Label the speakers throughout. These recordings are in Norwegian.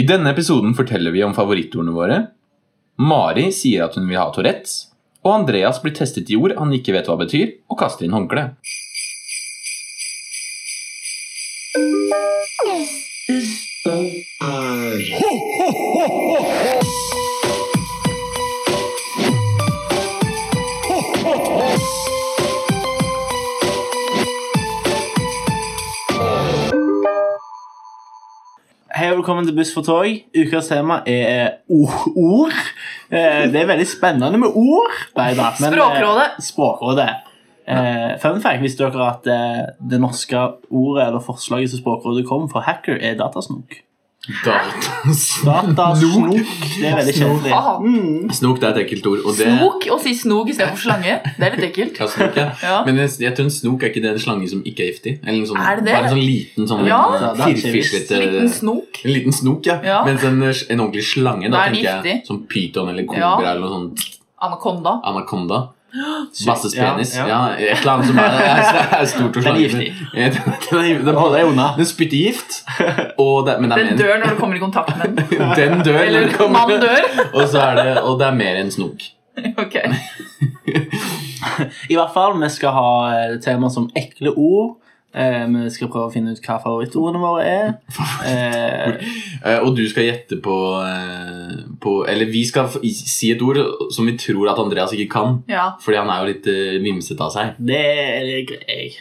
Speaker 1: I denne episoden forteller vi om favorittordene våre. Mari sier at hun vil ha Tourettes. Og Andreas blir testet i ord han ikke vet hva betyr, og kaster inn håndkle.
Speaker 2: Hei og velkommen til Buss for tog. Ukas tema er o- ord. Eh, Det er veldig spennende med ord. Nei da, men, eh,
Speaker 3: Språkrådet.
Speaker 2: Språkrådet. Eh, Fun fact, visste dere at eh, det norske ordet eller forslaget som Språkrådet kom for hacker, er datasnok? Datasnok. Det er veldig kjedelig.
Speaker 3: Faen.
Speaker 2: Mm.
Speaker 1: Snok det er et ekkelt ord. Og det,
Speaker 3: Snok? Å si snog istedenfor slange? Det er litt ekkelt.
Speaker 1: Ja, snok, ja.
Speaker 3: Ja.
Speaker 1: Men jeg, jeg tror en snok er ikke det en slange som ikke er giftig. Eller en sånn,
Speaker 3: Er det det?
Speaker 1: Bare en sånn liten sånn
Speaker 3: Ja.
Speaker 1: eh, firfislete
Speaker 3: Liten snok.
Speaker 1: En liten snok, ja.
Speaker 3: Ja.
Speaker 1: Mens en, en ordentlig slange, da
Speaker 3: Da er den
Speaker 1: tenker jeg
Speaker 3: giftig.
Speaker 1: som pyton eller kobra
Speaker 3: Ja.
Speaker 1: eller noe sånt
Speaker 3: Anakonda.
Speaker 1: anakonda. Basses penis.
Speaker 2: Ja,
Speaker 1: Ja,
Speaker 2: ja.
Speaker 1: et eller annet som er, er, er stort og
Speaker 2: Den er
Speaker 1: slange.
Speaker 2: giftig.
Speaker 1: Ja, Den den er giftig. Den,
Speaker 2: Hold deg unna.
Speaker 1: den spytter gift, og det, men det er
Speaker 3: Den
Speaker 1: mer
Speaker 3: dør når du kommer i kontakt med den.
Speaker 1: en- den dør når
Speaker 3: Eller
Speaker 1: det kommer-
Speaker 3: man dør.
Speaker 1: Og, så er det, og det er mer enn snok.
Speaker 3: Ok.
Speaker 2: I hvert fall, vi skal ha eh, tema som ekle ord. Eh, vi skal prøve å finne ut hva favorittordene våre er. Eh,
Speaker 1: Eh, Og du skal gjette på, eh, på Eller vi skal f- si et ord som vi tror at Andreas ikke kan.
Speaker 3: Ja.
Speaker 1: Fordi han er jo litt eh, vimsete av seg.
Speaker 2: det liker jeg.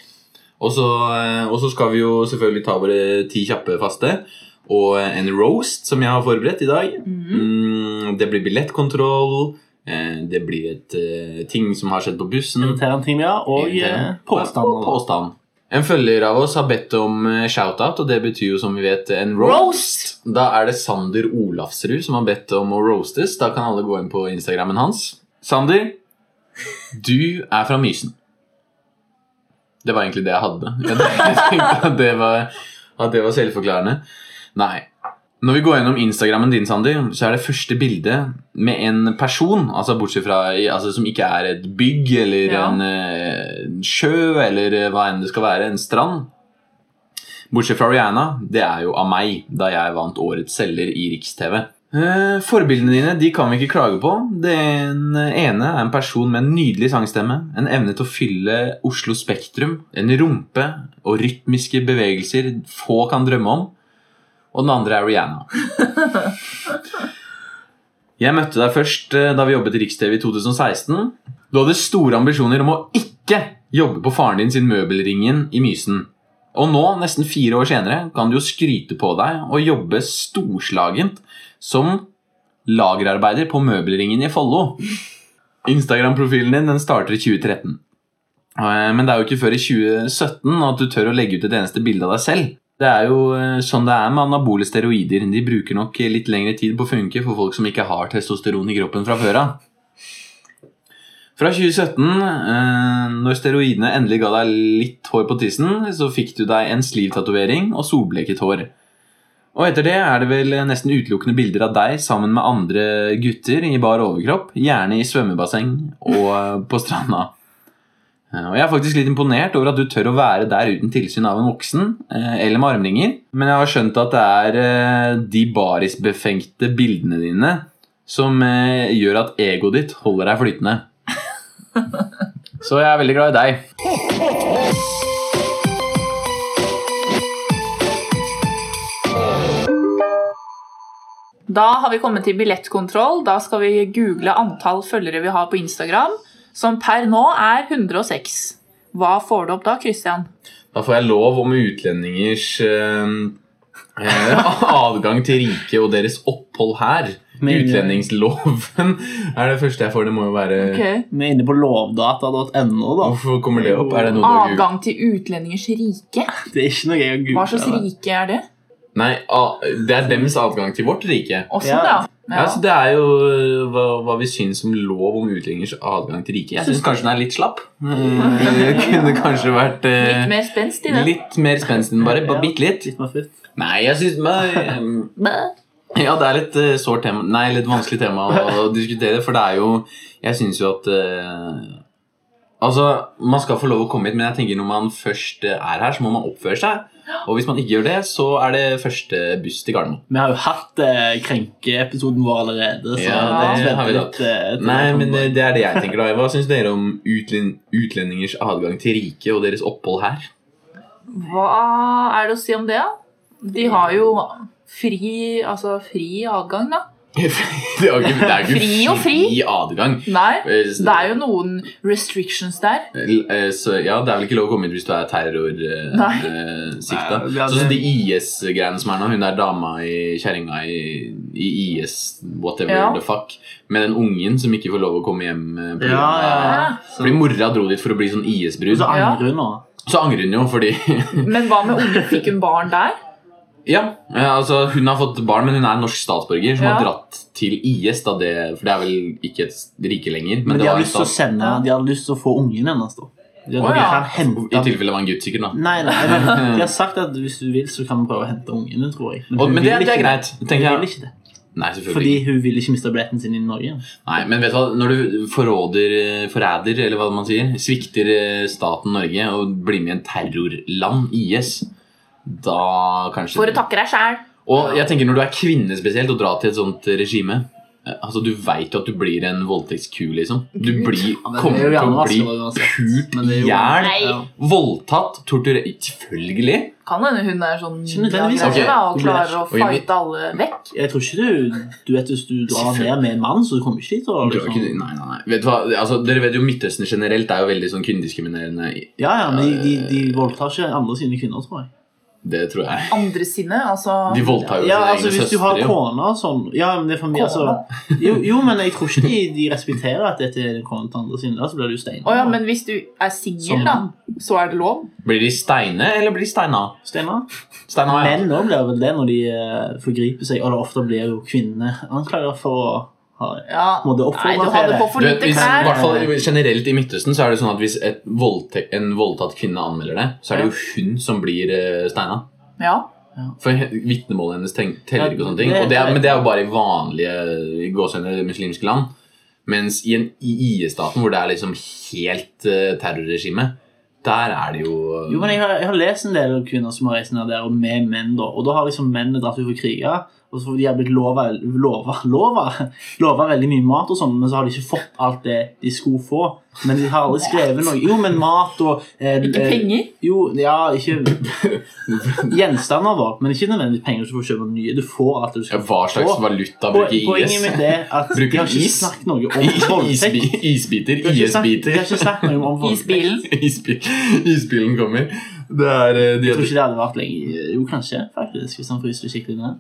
Speaker 1: Og så, eh, og så skal vi jo selvfølgelig ta våre ti kjappe faste. Og eh, en roast som jeg har forberedt i dag.
Speaker 3: Mhm.
Speaker 1: Mm, det blir billettkontroll. eh, Det blir et eh, ting som har skjedd på bussen.
Speaker 2: Irriterende ting vi har, og eh,
Speaker 1: Og
Speaker 2: påstander.
Speaker 1: påstand. En følger av oss har bedt om eh, shout-out, og det betyr jo som vi vet en roast.
Speaker 3: Roast!
Speaker 1: Da er det Sander Olafsrud som har bedt om å roastes. Da kan alle gå inn på Instagrammen hans. Sander, du er fra Mysen. Det var egentlig det jeg hadde. Jeg tenkte at det var, at det var selvforklarende. Nei. Når vi går gjennom Instagrammen din, Sander, så er det første bildet med en person, altså bortsett fra altså, som ikke er et bygg eller
Speaker 3: Ja.
Speaker 1: en eh, sjø eller eh, hva enn det skal være, en strand. Bortsett fra Rihanna, det er jo av meg, da jeg vant Årets selger i Riks-TV. Eh, Forbildene dine de kan vi ikke klage på. Den ene er en person med en nydelig sangstemme, en evne til å fylle Oslo Spektrum, en rumpe og rytmiske bevegelser få kan drømme om. Og den andre er Rihanna. Jeg møtte deg først eh, da vi jobbet i Riks-TV i 2016. Du hadde store ambisjoner om å ikke jobbe på faren din sin Møbelringen i Mysen. Og nå, nesten fire år senere, kan du jo skryte på deg og jobbe storslagent som lagerarbeider på Møbelringen i Follo. Instagram-profilen din den starter i 2013. Eh, Men det er jo ikke før i 2017 at du tør å legge ut et eneste bilde av deg selv. Det er jo eh, sånn det er med anabole steroider. De bruker nok litt lengre tid på å funke for folk som ikke har testosteron i kroppen fra før av. Fra 2017, eh, når steroidene endelig ga deg litt hår på tissen, så fikk du deg en sleeve-tatovering og solbleket hår. Og etter det er det vel nesten utelukkende bilder av deg sammen med andre gutter i bar overkropp, gjerne i svømmebasseng og eh, på stranda. Eh, Og jeg er faktisk litt imponert over at du tør å være der uten tilsyn av en voksen, eh, eller med armringer, men jeg har skjønt at det er eh, de barisbefengte bildene dine som eh, gjør at egoet ditt holder deg flytende. Så jeg er veldig glad i deg.
Speaker 3: Da har vi kommet til billettkontroll. Da skal vi google antall følgere vi har på Instagram, som per nå er 106. Hva får du opp da, Christian?
Speaker 1: Da får jeg lov om utlendingers eh, eh, adgang til riket og deres opphold her.
Speaker 2: Men-
Speaker 1: Utlendingsloven er det første jeg får. Det må jo være
Speaker 3: Ok.
Speaker 2: Vi er inne på lovdata.no, da.
Speaker 1: Hvorfor kommer det opp? Er det noe du har
Speaker 3: Adgang til utlendingers rike?
Speaker 2: Det er ikke noe jeg har
Speaker 3: Hva slags
Speaker 2: googlet, da.
Speaker 3: rike er det?
Speaker 1: Nei, a- det er dems adgang til vårt rike.
Speaker 3: Også,
Speaker 2: Ja.
Speaker 3: ja.
Speaker 1: Ja. så det er jo eh, hva, hva vi syns om lov om utlendingers adgang til riket. Jeg syns kanskje den er litt slapp. Eh, Det kunne kanskje vært eh,
Speaker 3: Litt mer spenst i det.
Speaker 1: litt mer spenst enn bare. Bare bitte litt.
Speaker 2: Litt mer fritt.
Speaker 1: Nei, jeg syns men,
Speaker 3: Bæ.
Speaker 1: Ja, det er litt eh, sårt tema Nei, litt vanskelig tema å, å diskutere, for det er jo Jeg syns jo at eh, Altså, Man skal få lov å komme hit, men jeg tenker når man først eh, er her, så må man oppføre seg. Og hvis man ikke gjør det, så er det første buss til Gardermoen.
Speaker 2: Vi har jo hatt eh, krenkeepisoden vår allerede, så
Speaker 1: Ja,
Speaker 2: det,
Speaker 1: det har vi
Speaker 2: venter
Speaker 1: da.
Speaker 2: litt. eh, til
Speaker 1: Nei,
Speaker 2: det kommer.
Speaker 1: men eh, det er det jeg tenker, da. Hva syns dere om utlen utlendingers adgang til riket og deres opphold her?
Speaker 3: Hva er det å si om det, da? De har jo fri, altså fri adgang, da.
Speaker 1: det er jo ikke, det er jo ikke
Speaker 3: Fri og fri.
Speaker 1: adgang.
Speaker 3: Nei,
Speaker 1: Eh,
Speaker 3: det er jo noen restrictions der.
Speaker 1: L- eh, Så, ja, det er vel ikke lov å komme hit hvis du er eh,
Speaker 3: Nei.
Speaker 1: terrorsikta.
Speaker 2: Nei, det er
Speaker 1: Sånn som de
Speaker 2: det.
Speaker 1: IS-greiene som er nå. Hun der dama i kjerringa i, i IS, whatever
Speaker 3: Ja.
Speaker 1: the fuck. Med den ungen som ikke får lov å komme hjem. eh, på grunn
Speaker 2: Ja,
Speaker 1: av-
Speaker 2: ja, ja.
Speaker 1: Fordi mora dro dit for å bli sånn IS-brud.
Speaker 2: Så
Speaker 3: Ja.
Speaker 2: angrer hun nå.
Speaker 1: Så angrer hun jo fordi
Speaker 3: Men hva med unge? Fikk hun barn der?
Speaker 1: Ja, eh, altså hun har fått barn, men hun er norsk statsborger som
Speaker 3: Ja.
Speaker 1: har dratt til IS. Da det, for det er vel ikke et rike lenger. Men,
Speaker 2: Men
Speaker 1: det
Speaker 2: de har
Speaker 1: var en
Speaker 2: lyst til å
Speaker 1: stat,
Speaker 2: sende
Speaker 3: Ja.
Speaker 2: De har lyst til å få ungen hennes, da. De
Speaker 1: Å,
Speaker 2: har,
Speaker 3: ja.
Speaker 2: de kan
Speaker 1: I
Speaker 2: hente den.
Speaker 1: tilfelle det var en gutt, sikkert. da
Speaker 2: Nei, nei, nei, de har sagt at hvis du vil, så kan vi prøve å hente ungene, tror jeg.
Speaker 1: Og,
Speaker 2: hun
Speaker 1: men det, er-
Speaker 2: vil
Speaker 1: det er
Speaker 2: ikke
Speaker 1: greit.
Speaker 2: Hun
Speaker 1: tenker
Speaker 2: vil
Speaker 1: jeg
Speaker 2: ikke det.
Speaker 1: Nei, selvfølgelig
Speaker 2: Fordi
Speaker 1: ikke.
Speaker 2: hun vil ikke miste billetten sin i Norge.
Speaker 1: Nei, men vet du hva, når du forråder, eh, forræder, eller hva man sier, svikter eh, staten Norge og blir med i en terrorland, IS, da kanskje
Speaker 3: For å takke deg sjæl.
Speaker 1: Og jeg tenker når du er kvinne spesielt og drar til et sånt regime eh, Altså Du veit jo at du blir en voldtektsku, liksom. Du blir, kommer til å bli
Speaker 2: altså.
Speaker 1: pult i hjel,
Speaker 3: Nei.
Speaker 2: Ja.
Speaker 1: voldtatt, torturert Selvfølgelig!
Speaker 3: Kan hende hun er sånn
Speaker 2: Ikke nødvendigvis.
Speaker 3: ja,
Speaker 1: Ok.
Speaker 3: da, og
Speaker 2: Hun blir-
Speaker 3: klarer å
Speaker 1: Oi, men-
Speaker 3: fighte alle vekk.
Speaker 2: Jeg tror ikke du Du vet hvis du drar
Speaker 1: Selvfølgelig.
Speaker 2: ned med en mann, så du kommer ikke dit. Og,
Speaker 1: Du er jo ikke,
Speaker 2: liksom.
Speaker 1: nei, nei, nei. Vet du hva? Altså, dere vet jo Midtøsten generelt er jo veldig sånn kvinnediskriminerende.
Speaker 2: Ja, ja, men de, de,
Speaker 1: Ja,
Speaker 2: de voldtar ikke andre sine kvinner, tror jeg.
Speaker 1: Det tror jeg.
Speaker 3: Andre sinne, altså
Speaker 1: De voldtar jo
Speaker 2: Ja,
Speaker 1: sine
Speaker 2: altså
Speaker 1: egne
Speaker 2: Hvis du har
Speaker 1: søstre. jo.
Speaker 2: kone og sånn Ja, men det er for mye altså, jo, jo, men jeg tror ikke de, de respekterer at dette er kona til andre sine. Da så blir du stein.
Speaker 3: Å ja, men hvis du er singel,
Speaker 2: Som mann.
Speaker 3: da, så er det lov?
Speaker 1: Blir de steine, eller blir de steina?
Speaker 2: Steinar.
Speaker 1: Steina, ja.
Speaker 2: Menn òg blir vel det når de eh, forgriper seg, og det ofte blir jo kvinnene anklaget for å ha
Speaker 3: Ja.
Speaker 2: Må det
Speaker 3: Nei,
Speaker 2: oppfordre
Speaker 3: du hadde på
Speaker 1: Du
Speaker 3: for
Speaker 1: vet,
Speaker 3: lite
Speaker 1: hvis, i
Speaker 3: klær.
Speaker 1: hvert fall Generelt i Midtøsten så er det sånn at hvis et voldtek, en voldtatt kvinne anmelder det, så er det jo hun som blir eh, steina.
Speaker 3: Ja.
Speaker 1: For he- vitnemålet hennes tenk- teller ikke og sånne ting.
Speaker 2: Ja, det-
Speaker 1: Og det er, men det er jo bare i vanlige gåsehudene muslimske land. Mens i, en- i IS-staten, hvor det er liksom helt eh, terrorregime, der er det jo eh,
Speaker 2: Jo, men jeg har, jeg har lest en del av kvinner som har reist ned der, og med menn, da. Og da har liksom mennene dratt ut for kriger, og så de har blitt lova lova, lova, lova veldig mye mat og sånn, men så har de ikke fått alt det de skulle få. Men de har aldri skrevet noe. Jo, men mat og eh,
Speaker 3: Ikke
Speaker 2: eh,
Speaker 3: penger.
Speaker 2: Jo, ja, ikke Gjenstander, da. Men ikke nødvendigvis penger du får kjøpe nye. Du får alt det du
Speaker 1: ja,
Speaker 2: skal
Speaker 1: Hva slags
Speaker 2: På-
Speaker 1: valuta
Speaker 2: Po-
Speaker 1: bruker IS?
Speaker 2: Poenget mitt er at
Speaker 1: Bruker
Speaker 2: de har ikke
Speaker 1: is?
Speaker 2: snakket noe om voldtekt.
Speaker 1: Isbi- Isbiter. E
Speaker 2: De har ikke snakket-
Speaker 1: IS-biter.
Speaker 2: de har ikke snakket noe om voldtekt.
Speaker 3: Isbilen.
Speaker 1: Isbil, isbilen kommer. Det er eh, de
Speaker 2: Jeg tror ikke det hadde vært lenge. Jo, kanskje, faktisk, hvis han fryser skikkelig ned.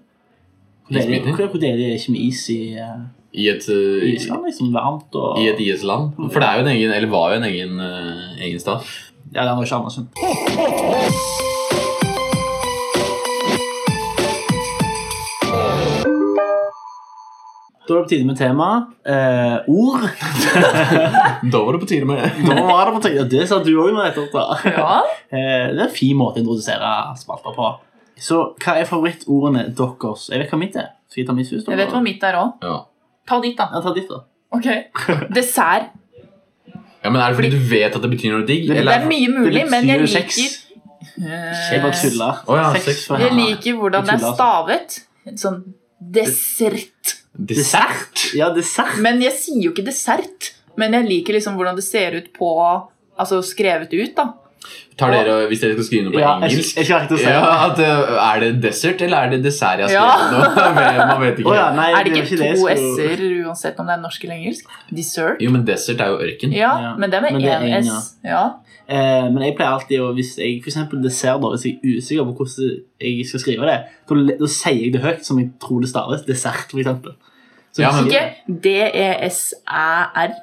Speaker 2: Hvor deilig-
Speaker 1: Isbiter?
Speaker 2: Hvor hvor deilig er det ikke med is i, eh,
Speaker 1: i et, eh,
Speaker 2: i Island? liksom varmt og...
Speaker 1: i et IS-land. For det er jo en egen, eller var jo en egen, eh, egen stat.
Speaker 2: Ja, det var ikke anerkjent. Da er det på tide med tema. Eh, ord.
Speaker 1: Da var det på tide med
Speaker 2: Nå var det på tide. Det sa du òg nå nettopp. da.
Speaker 3: Ja.
Speaker 2: Eh, det er en fin måte å introdusere spalter på. Så hva er favorittordene deres? Jeg vet hva mitt er. Skal jeg ta mitt først?
Speaker 3: Jeg vet hva mitt er òg.
Speaker 1: ja.
Speaker 3: Ta ditt, da.
Speaker 2: Jeg tar ditt, da.
Speaker 3: Ok. Dessert.
Speaker 1: ja, men Er det fordi du vet at det betyr noe digg?
Speaker 2: Det-
Speaker 3: Det er mye mulig,
Speaker 2: Det
Speaker 3: men jeg
Speaker 2: betyr
Speaker 3: liker
Speaker 2: sex.
Speaker 3: Eh,
Speaker 2: Jeg bare tuller.
Speaker 1: Å ja, sex
Speaker 2: for
Speaker 3: Jeg
Speaker 2: henne.
Speaker 3: liker hvordan det er stavet. Sånn dessert.
Speaker 1: dessert?
Speaker 2: Ja, dessert.
Speaker 3: Men jeg sier jo ikke dessert. Men jeg liker liksom hvordan det ser ut på Altså skrevet ut, da.
Speaker 1: Tar dere, Hvis dere skal skrive noe på
Speaker 2: Ja, jeg,
Speaker 1: engelsk
Speaker 2: jeg klarte å si
Speaker 1: ja,
Speaker 2: det.
Speaker 1: at, eh, Er det dessert, eller er det dessert jeg har
Speaker 3: Ja.
Speaker 1: skrevet nå? Man vet
Speaker 2: Å
Speaker 1: ikke.
Speaker 2: ja, nei,
Speaker 3: Er det
Speaker 2: var
Speaker 3: ikke
Speaker 2: jeg
Speaker 3: to
Speaker 2: skulle-
Speaker 3: s-er uansett om det er norsk eller engelsk? Dessert?
Speaker 1: Jo, men dessert er jo ørken.
Speaker 3: Ja,
Speaker 2: Ja,
Speaker 3: men det er med
Speaker 2: men det er
Speaker 3: én
Speaker 2: en,
Speaker 3: s. Ja.
Speaker 2: Eh, men jeg pleier alltid å Hvis jeg for eksempel dessert, da, hvis jeg er usikker på hvordan jeg skal skrive det, da, le- da sier jeg det høyt som jeg tror det staves. Dessert, for eksempel. Så
Speaker 1: Ja, men-
Speaker 3: Ikke d-e-s-æ-r.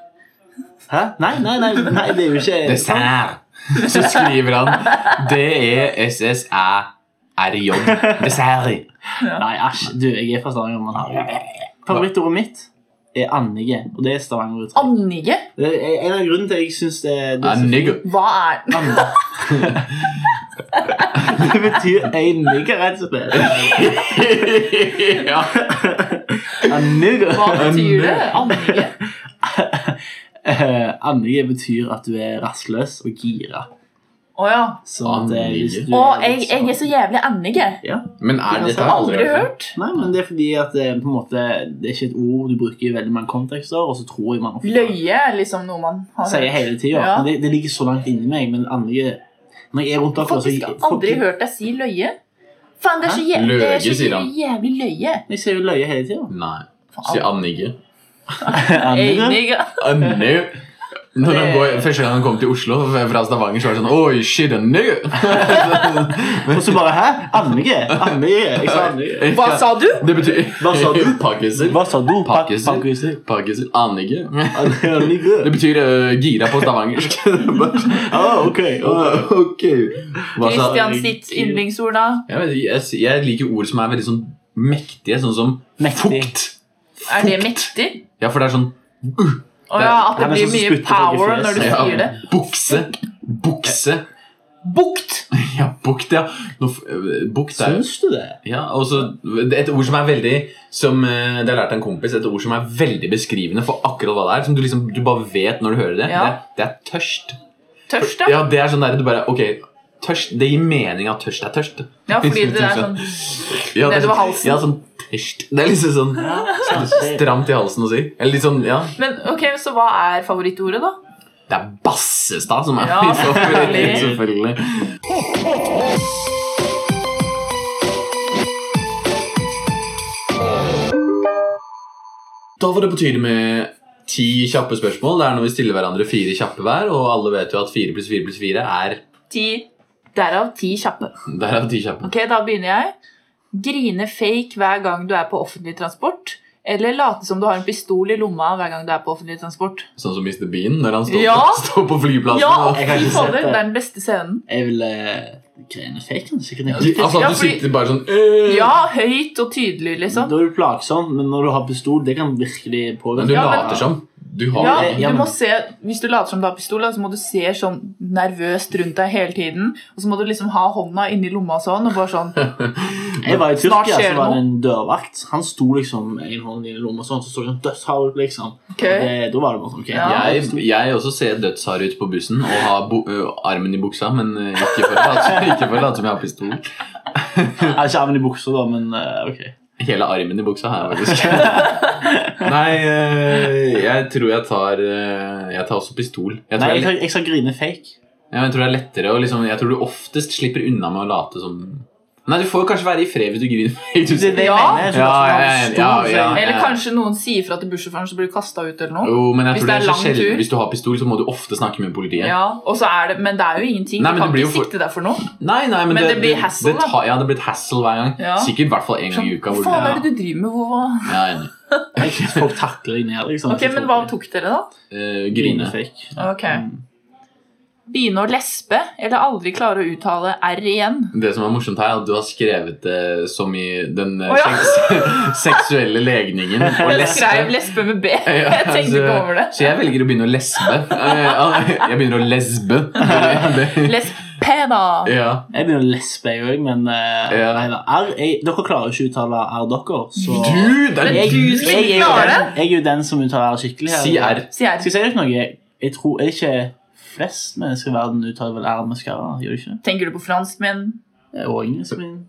Speaker 2: Hæ? Nei, nei, nei, nei, det er jo ikke
Speaker 1: Dessert! Så skriver han E D-E-S-S-æ-R-J. Dessert.
Speaker 2: Nei, æsj. Du, jeg er fra Stavanger. men herregud. Favorittordet mitt er annige, og det er Stavanger-uttrykk.
Speaker 3: Annige?
Speaker 2: Det er en av grunnene til at jeg syns det, det
Speaker 1: A
Speaker 2: er så fint.
Speaker 1: nigger.
Speaker 3: Hva er
Speaker 2: Anne. Det betyr en nigger, rett og slett.
Speaker 1: ja.
Speaker 2: En nigger.
Speaker 3: Hva betyr det? Annige?
Speaker 2: Eh, Andlige betyr at du er rastløs og gira.
Speaker 3: Å ja.
Speaker 2: Så at det, hvis du
Speaker 3: Å,
Speaker 2: er
Speaker 3: jeg,
Speaker 2: litt
Speaker 3: jeg er
Speaker 2: sånn-
Speaker 3: så jævlig andig. jeg.
Speaker 1: Men er
Speaker 2: Det har
Speaker 1: dette
Speaker 2: jeg
Speaker 1: har jeg
Speaker 3: Aldri hørt.
Speaker 2: Nei, men det er fordi at det er på en måte Det er ikke et ord du bruker i veldig mange kontekster, og så tror jeg man ofte
Speaker 3: Løye er liksom noe man har
Speaker 2: sier
Speaker 3: hørt.
Speaker 2: hele tida.
Speaker 3: Ja.
Speaker 2: Men Det, det ligger så langt inni meg. Men andre Når jeg er rundt dere, så
Speaker 3: Faktisk aldri hørt deg si løye. Faen, det er så, jæ
Speaker 1: Hæ?
Speaker 3: det er så
Speaker 1: Løye, sier han.
Speaker 3: jævlig løye.
Speaker 2: Jeg sier jo løye hele tida.
Speaker 1: Nei. Si
Speaker 3: Faen.
Speaker 1: Annige.
Speaker 2: Andre
Speaker 3: Enig, ja.
Speaker 1: Anne. Når han
Speaker 3: Det-
Speaker 1: går, første gang han kom til Oslo fra Stavanger, så var det sånn Oi, shit, Anne.
Speaker 2: Og så bare Hæ? Andlige? Andlige? Jeg sa andlige.
Speaker 3: Hva sa du?
Speaker 1: Det betyr
Speaker 2: Hva sa du?
Speaker 1: Pakkiser.
Speaker 2: Hva sa du? Pa-
Speaker 1: Pakkiser.
Speaker 2: Pakkiser.
Speaker 1: Pakkiser. Annige. Det
Speaker 2: Andlige.
Speaker 1: betyr øh, gira på stavangersk.
Speaker 2: Ah, ok. ok.
Speaker 1: Åh, ok. Hva sa-
Speaker 3: Christian sitt yndlingsord, da?
Speaker 1: Jeg, vet, ikke, jeg, s- jeg liker ord som er veldig sånn mektige, sånn som
Speaker 2: Mektig.
Speaker 1: fukt.
Speaker 3: Er det mektig?
Speaker 1: Ja, for det er sånn
Speaker 3: Å ja, at
Speaker 2: Nei,
Speaker 3: det
Speaker 2: men
Speaker 3: blir
Speaker 2: så
Speaker 3: mye
Speaker 2: spytter folk i
Speaker 3: power
Speaker 2: fjes.
Speaker 3: når du
Speaker 1: ja,
Speaker 3: sier det.
Speaker 1: bukse. Bukse.
Speaker 3: Bukt!
Speaker 1: Ja, bukt, ja. Nå f- øh, Bukt er jo
Speaker 2: Syns du det?
Speaker 1: ja, og så- det er Et ord som er veldig som, øh, Det har jeg lært av en kompis. Et ord som er veldig beskrivende for akkurat hva det er. Som du liksom, du bare vet når du hører det.
Speaker 3: Ja.
Speaker 1: Det, det er tørst.
Speaker 3: Tørst, ja.
Speaker 1: Ja, det er sånn der, du bare, ok, tørst, det gir mening at tørst er tørst.
Speaker 3: Ja, fordi det er sånn
Speaker 1: Ja, det er
Speaker 3: Nedover
Speaker 1: sånn-
Speaker 3: halsen.
Speaker 1: Ja, sånn tørst. Det er liksom sånn stramt i halsen å si. Eller litt sånn, ja,
Speaker 3: Men ok, så hva er favorittordet, da?
Speaker 1: det er Bassestad som er
Speaker 3: Ja,
Speaker 1: min favoritt,
Speaker 3: selvfølgelig.
Speaker 1: selvfølgelig. Da var det på tide med ti kjappe spørsmål. Det er når vi stiller hverandre fire kjappe hver, og alle vet jo at fire pluss fire pluss fire er
Speaker 3: Ti. Derav ti kjappe.
Speaker 1: Derav ti kjappe.
Speaker 3: Ok, da begynner jeg. Grine fake hver gang du er på offentlig transport. Eller late som du har en pistol i lomma hver gang du er på offentlig transport.
Speaker 1: Sånn som Mr. Bean når han står,
Speaker 3: Ja.
Speaker 1: står på flyplassen.
Speaker 3: Ja,
Speaker 1: og-
Speaker 2: Jeg har
Speaker 3: fy
Speaker 2: ikke sett
Speaker 3: fader,
Speaker 2: det.
Speaker 3: det er den beste scenen.
Speaker 2: Jeg vil eh, grene fake, kanskje. Kan jeg
Speaker 1: altså
Speaker 3: Ja,
Speaker 1: at du
Speaker 3: fordi-
Speaker 1: sitter bare sånn øh.
Speaker 3: Ja, høyt og tydelig,
Speaker 2: Da
Speaker 3: liksom.
Speaker 2: er du plagsom, men når du har pistol, det kan virkelig
Speaker 1: Men
Speaker 2: påvirke.
Speaker 1: du
Speaker 3: Ja, men-
Speaker 1: later som. Du har
Speaker 3: Ja,
Speaker 2: Ja,
Speaker 3: du
Speaker 2: men-
Speaker 3: må se, Hvis du later som du har pistol, da, så må du se sånn nervøst rundt deg hele tiden. Og så må du liksom ha hånda inni lomma sånn, og bare sånn
Speaker 2: Jeg var i
Speaker 3: Snart
Speaker 2: Tyrkia,
Speaker 3: skjer
Speaker 2: så var
Speaker 3: det
Speaker 2: det en dørvakt. Han sto liksom med en hånd i lomma sånn, så så han dødshard ut, liksom.
Speaker 3: Ok.
Speaker 2: Og Det, da var det bare sånn, ok.
Speaker 3: Ja.
Speaker 1: Jeg, jeg også ser dødshard ut på bussen og har bu- ø, armen i buksa, men ø, ikke for å late ikke for å late som jeg har pistol.
Speaker 2: Jeg har ikke armen i buksa, da, men eh, ok.
Speaker 1: Hele armen i buksa har jeg faktisk. Nei, ø, jeg tror jeg tar ø, Jeg tar også pistol. Jeg
Speaker 2: Nei,
Speaker 1: tror,
Speaker 2: jeg,
Speaker 1: jeg,
Speaker 2: skal- jeg skal grine fake.
Speaker 1: ja, men jeg tror det er lettere å liksom Jeg tror du oftest slipper unna med å late som Nei, du får kanskje være i fred hvis du
Speaker 2: Det er
Speaker 1: griner.
Speaker 2: det jeg
Speaker 3: Ja.
Speaker 2: mener. Jeg synes
Speaker 1: Ja,
Speaker 2: at han
Speaker 1: ja, ja,
Speaker 2: sto,
Speaker 1: ja,
Speaker 2: så jeg-
Speaker 1: ja.
Speaker 3: Eller kanskje noen sier fra til bussjåføren, så blir du kasta ut eller noe.
Speaker 1: Jo, men jeg tror
Speaker 3: Hvis
Speaker 1: det
Speaker 3: det er
Speaker 1: er så
Speaker 3: lang tur.
Speaker 1: sjelden Hvis du har pistol, så må du ofte snakke med politiet.
Speaker 3: Ja, og så er det, Men det er jo ingenting.
Speaker 1: Nei, men
Speaker 3: du kan
Speaker 1: det blir jo
Speaker 3: ikke
Speaker 1: for-
Speaker 3: sikte deg for noe.
Speaker 1: Nei, nei, men,
Speaker 3: Men det blir hassle,
Speaker 1: det
Speaker 3: da.
Speaker 1: tar- Ja, det blir et hassle hver gang.
Speaker 3: Ja.
Speaker 1: Sikkert i hvert fall én gang i uka.
Speaker 3: Hva
Speaker 1: hvor
Speaker 3: faen
Speaker 1: det-
Speaker 3: er det du driver med? Hvor...
Speaker 1: Ja, jeg er enig.
Speaker 2: Jeg synes folk takler deg ned, liksom.
Speaker 3: Ok, Men hva tok dere, da?
Speaker 1: Eh,
Speaker 2: Grine
Speaker 1: grine.
Speaker 2: fake.
Speaker 3: Ok. Begynne å lespe eller aldri klare å uttale R igjen?
Speaker 1: Det som er morsomt her, er at du har skrevet det som i den eh,
Speaker 3: Å, ja.
Speaker 1: seks seksuelle legningen. Og
Speaker 3: Jeg skrev
Speaker 1: lesbe.
Speaker 3: lesbe med B.
Speaker 1: Ja, altså,
Speaker 3: Jeg tenkte ikke over det.
Speaker 1: Så jeg velger å begynne å lesbe. Eh, Jeg begynner å lesbe. Det-
Speaker 3: Lespe, da.
Speaker 1: Ja.
Speaker 2: Jeg begynner å lesbe, jeg òg, men eh,
Speaker 1: Ja.
Speaker 2: nei da. R, jeg, dere klarer jo ikke å uttale R, dere. Så
Speaker 1: Du, det
Speaker 3: Men
Speaker 1: er
Speaker 3: du-
Speaker 1: du!
Speaker 3: som ikke
Speaker 2: jeg er jo
Speaker 3: klarer
Speaker 2: den- Jeg er jo den som uttaler R skikkelig. her.
Speaker 1: Si R.
Speaker 3: Sier
Speaker 2: Skal
Speaker 3: jeg.
Speaker 2: jeg si dere noe? Jeg tror er det ikke flest mennesker i verden uttaler vel R med skara, gjør de ikke?
Speaker 3: Tenker du på franskmenn?
Speaker 2: det? Og engelskmenn.
Speaker 1: R.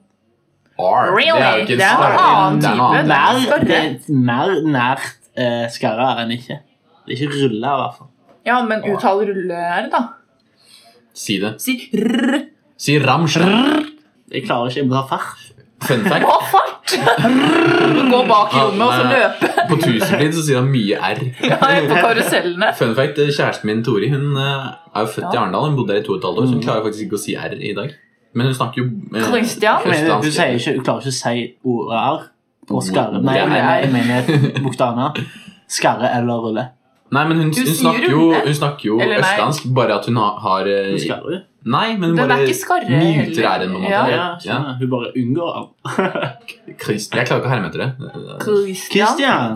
Speaker 1: Det er jo
Speaker 3: Really?
Speaker 1: ikke
Speaker 3: Det er en annen
Speaker 1: det er noe
Speaker 3: type.
Speaker 1: annet.
Speaker 2: Mer,
Speaker 3: Skarre.
Speaker 2: det er mer nært eh, skara enn ikke. Det er ikke rulle, i hvert fall.
Speaker 3: Ja, men uttal rulle R, da.
Speaker 1: Si det.
Speaker 3: Si rr.
Speaker 1: Si ramsj.
Speaker 2: Jeg klarer ikke, jeg må ta fart.
Speaker 1: Fun fact.
Speaker 3: Å, fart! Gå bak i rommet og så
Speaker 1: Han, eh,
Speaker 3: løpe.
Speaker 1: På Tusenfryd så sier han mye R.
Speaker 3: Ja, på karusellene.
Speaker 1: Fun fact, eh, kjæresten min Tori Hun eh, er jo født i
Speaker 3: Ja. Mm.
Speaker 1: Arendal. Hun bodde der i to og et halvt år, så hun klarer faktisk ikke å si R i dag. Men hun snakker jo eh,
Speaker 3: Christian?
Speaker 2: Jeg mener, Hun,
Speaker 1: østlandsk.
Speaker 2: sier ikke, hun klarer ikke å si ordet R på
Speaker 1: Ordet
Speaker 2: skarre. Nei, jeg
Speaker 1: R.
Speaker 2: mener, jeg mener bokstavene. Skarre eller rulle.
Speaker 1: Nei, men hun, hun,
Speaker 3: sier
Speaker 1: snakker jo,
Speaker 3: runde.
Speaker 1: hun snakker jo
Speaker 3: Eller nei.
Speaker 1: østlandsk, bare at hun har, har eh,
Speaker 2: Hun skarre.
Speaker 1: Nei, men hun
Speaker 3: Den
Speaker 1: bare
Speaker 3: er ikke skarre
Speaker 1: muter
Speaker 3: heller.
Speaker 1: R-en på en måte.
Speaker 3: Ja.
Speaker 2: Ja, skjønner. Hun bare unngår R.
Speaker 1: Christ, jeg klarer ikke å herme etter det.
Speaker 3: Christian.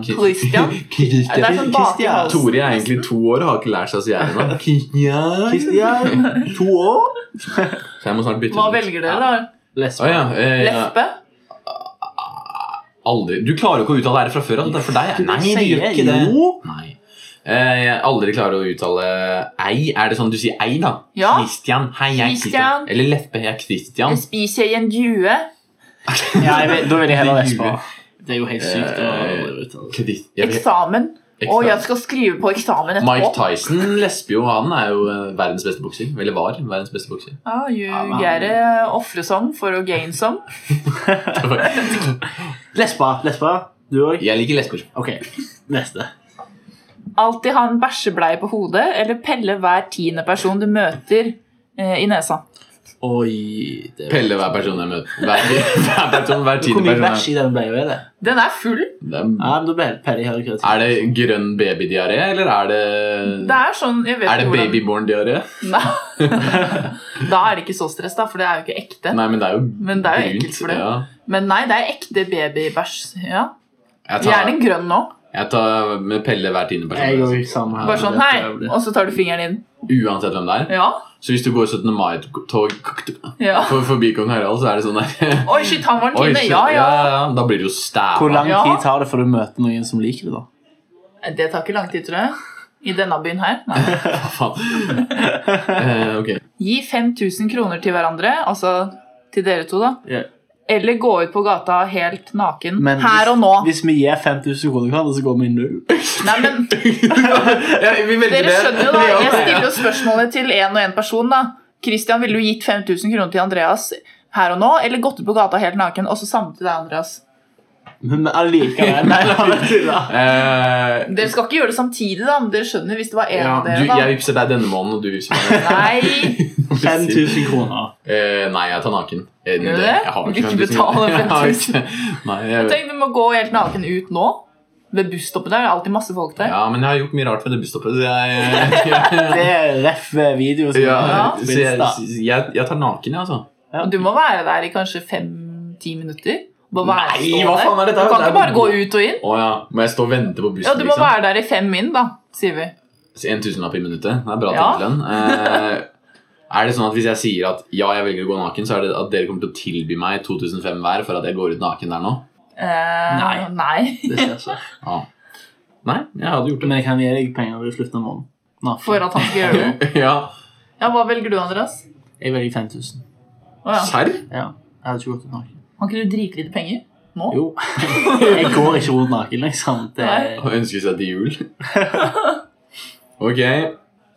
Speaker 2: Christian.
Speaker 3: Christian.
Speaker 1: Christian.
Speaker 3: Det er sånn bak i
Speaker 2: Christian.
Speaker 3: halsen.
Speaker 1: Tori er egentlig to år og har ikke lært seg å si R ennå. Christian.
Speaker 2: Christian. To år.
Speaker 1: Så jeg må snart bytte
Speaker 3: Hva
Speaker 1: den ut.
Speaker 3: velger dere, da?
Speaker 1: Å
Speaker 2: Lesbe.
Speaker 1: ja, eh, ja.
Speaker 3: Lesbe?
Speaker 1: Aldri. Du klarer jo ikke å uttale R fra før av. Det er for deg. Nei, du gjør ikke det.
Speaker 2: Jo.
Speaker 1: Nei. Eh, Jeg aldri klarer å uttale ei. Er det sånn du sier ei, da?
Speaker 3: Ja.
Speaker 1: Christian. Hei, jeg er Christian.
Speaker 3: Christian.
Speaker 1: Eller Leppe, jeg er Christian.
Speaker 3: Jeg spiser jeg en due?
Speaker 2: Ja, jeg vet, da vil jeg heller
Speaker 1: Det
Speaker 2: vespe.
Speaker 1: ljuger.
Speaker 2: Det er jo helt sykt eh, å drive ut altså. av det.
Speaker 1: Chris- jeg vet-
Speaker 3: Eksamen? Å,
Speaker 1: Eksamen.
Speaker 3: jeg skal skrive på eksamen
Speaker 1: Mike
Speaker 3: etterpå.
Speaker 1: Tyson lesper jo. Han er jo eh, verdens beste bokser. Eller var verdens beste bokser.
Speaker 3: Ja,
Speaker 2: Ja, men-
Speaker 3: Ljug er det ofre som Eh, for å gain som.
Speaker 2: Lesba, lesba. Du òg?
Speaker 1: Jeg liker lesber.
Speaker 2: Ok, neste.
Speaker 3: Alltid ha en bæsjebleie på hodet, eller pelle hver tiende person du møter eh, i nesa.
Speaker 2: Oi det er-
Speaker 1: Pelle hver person jeg møter. Hver, hver, person, hver
Speaker 2: Hvor
Speaker 1: tiende
Speaker 2: mye
Speaker 1: person. jeg-
Speaker 2: bæsj i den bleia er det?
Speaker 3: Den er full.
Speaker 1: Det er-
Speaker 2: Ja, men da ble- peller jeg hele kreativitet.
Speaker 1: Er det grønn babydiaré, eller er det
Speaker 3: Det er sånn jeg vet
Speaker 1: Er det
Speaker 3: ikke hvordan-
Speaker 1: babyborn-diaré?
Speaker 3: Nei. Da er det ikke så stress, da, for det er jo ikke ekte.
Speaker 1: Nei, men det er jo
Speaker 3: Men det er jo
Speaker 1: brunt,
Speaker 3: ekkelt for det.
Speaker 1: Ja.
Speaker 3: Men nei, det er ekte babybæsj. Ja.
Speaker 1: Jeg tar,
Speaker 3: Gjerne grønn nå.
Speaker 1: jeg tar med Pelle hver tiende
Speaker 2: Jeg går
Speaker 1: person.
Speaker 2: jo sammen her.
Speaker 3: Bare sånn
Speaker 2: Det er
Speaker 3: hei,
Speaker 2: jævlig.
Speaker 3: og så tar du fingeren inn.
Speaker 1: Uansett hvem det er.
Speaker 3: Ja.
Speaker 1: Så hvis du går 17. mai-tog for-
Speaker 3: ja.
Speaker 1: forbi kong Harald, så er det sånn der
Speaker 3: Oi, shit, han var en
Speaker 1: Oi,
Speaker 3: time.
Speaker 1: shit,
Speaker 3: Ja, ja.
Speaker 1: Da blir det jo stæva.
Speaker 2: Hvor lang
Speaker 3: Ja.
Speaker 2: tid tar det før du møter noen som liker det, da?
Speaker 3: Det tar ikke lang tid, tror jeg. I denne byen her. Nei.
Speaker 1: Faen. Eh, ok.
Speaker 3: Gi 5000 kroner til hverandre, altså til dere to, da.
Speaker 2: Ja.
Speaker 3: Eller gå ut på gata helt naken.
Speaker 2: Men
Speaker 3: her og nå.
Speaker 2: Hvis vi gir 5000 kroner hverandre, så går vi i null.
Speaker 3: Nei, men
Speaker 1: Ja, vi velger
Speaker 3: Dere
Speaker 1: det.
Speaker 3: skjønner jo, da.
Speaker 1: Ja,
Speaker 3: Jeg
Speaker 1: ja.
Speaker 3: stiller jo spørsmålet til én og én person, da. Christian, ville du gitt 5000 kroner til Andreas her og nå, eller gått ut på gata helt naken, og så samme til deg, Andreas?
Speaker 2: Men allikevel Nei, la meg tulle.
Speaker 1: Eh,
Speaker 3: Dere skal ikke gjøre det samtidig, da, men dere skjønner hvis det var en av
Speaker 1: du,
Speaker 3: dere,
Speaker 1: jeg
Speaker 3: da.
Speaker 1: vippser deg denne måneden, og du vippser meg.
Speaker 2: 5000 kroner.
Speaker 1: Eh, nei, jeg tar naken. Eh,
Speaker 3: Gjør du
Speaker 1: det-
Speaker 3: det?
Speaker 1: Jeg har
Speaker 3: Vil du
Speaker 1: ikke
Speaker 3: ikke
Speaker 1: 5000
Speaker 3: betale
Speaker 1: Jeg har
Speaker 3: 5000?
Speaker 1: ikke- Nei, jeg,
Speaker 3: Nei! Tenk, du må gå helt naken ut nå. Ved busstoppet der. Det er alltid masse folk der.
Speaker 1: ja, men jeg har gjort mye rart ved det busstoppet. Så jeg,
Speaker 2: Det er ref eh, video. Som
Speaker 1: ja,
Speaker 2: er
Speaker 1: så
Speaker 2: på
Speaker 1: jeg,
Speaker 2: Insta.
Speaker 1: jeg, jeg tar naken, jeg, altså.
Speaker 3: Og du må være der i kanskje fem-ti minutter. Bare være
Speaker 1: Nei,
Speaker 3: stående.
Speaker 1: hva faen er dette?
Speaker 3: Du kan
Speaker 1: Det er
Speaker 3: ikke bare
Speaker 1: jo-
Speaker 3: gå ut og inn.
Speaker 1: Å ja. Må jeg stå og vente på bussen? liksom.
Speaker 3: Ja, Du må være der i fem min, da, sier vi.
Speaker 1: Så En tusenlapp i minuttet. Det er bra
Speaker 3: Ja.
Speaker 1: timelønn. Eh, er det sånn at Hvis jeg sier at ja, jeg velger å gå naken, så er det at dere kommer til å tilby meg 2005 hver for at jeg går ut naken der nå?
Speaker 3: Eh,
Speaker 2: Nei.
Speaker 3: nei.
Speaker 2: Det ser så.
Speaker 1: Ja. Nei, jeg hadde gjort det.
Speaker 2: Men jeg kan gi deg penger i slutten av måneden. Nå.
Speaker 3: For at han skal gjøre det.
Speaker 1: ja,
Speaker 3: Ja, Hva velger du, Andreas?
Speaker 2: Jeg velger 5000.
Speaker 3: Å, ja.
Speaker 1: Serr?
Speaker 2: Ja. Jeg hadde ikke gått ut naken.
Speaker 3: Har ikke du dritlite penger nå?
Speaker 2: Jo. Jeg går ikke rundt naken, liksom. Det er
Speaker 1: Å ønske seg til jul. Ok.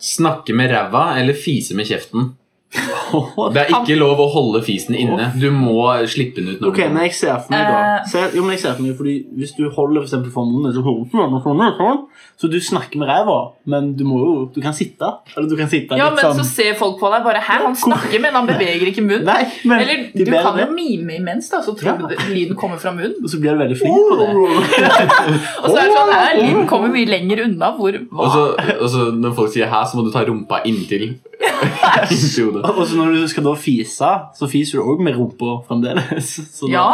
Speaker 1: Snakke med ræva eller fise med kjeften. Det er ikke lov å holde fisen inne. Du må slippe den ut. når
Speaker 2: Ok,
Speaker 1: du-
Speaker 2: men jeg ser for meg da
Speaker 3: Eh.
Speaker 2: ser, Jo, men jeg ser for meg Fordi hvis du holder for eksempel for munnen så, hører du sånn, og sånn, og sånn. så du snakker med ræva Men du må jo, du kan sitte Eller du kan sitte
Speaker 3: Ja,
Speaker 2: litt
Speaker 3: men
Speaker 2: sånn
Speaker 3: så ser folk på deg bare Hæ, han snakker, men han beveger ikke munnen.
Speaker 2: Nei, men
Speaker 3: Eller
Speaker 2: de
Speaker 3: du
Speaker 2: ber
Speaker 3: kan jo
Speaker 2: det,
Speaker 3: mime imens, da, så tror
Speaker 2: Ja.
Speaker 3: du det- lyden kommer fra munnen.
Speaker 2: Og så blir du veldig flink på det
Speaker 3: Og så er det sånn her, lyden kommer mye lenger unna hvor
Speaker 1: Og
Speaker 3: hva?
Speaker 1: så, og så når folk sier 'hæ', så må du ta rumpa inntil. inntil hodet.
Speaker 2: Og så når du skal da fise Så fiser du også med rumpa fremdeles så da-
Speaker 3: Ja,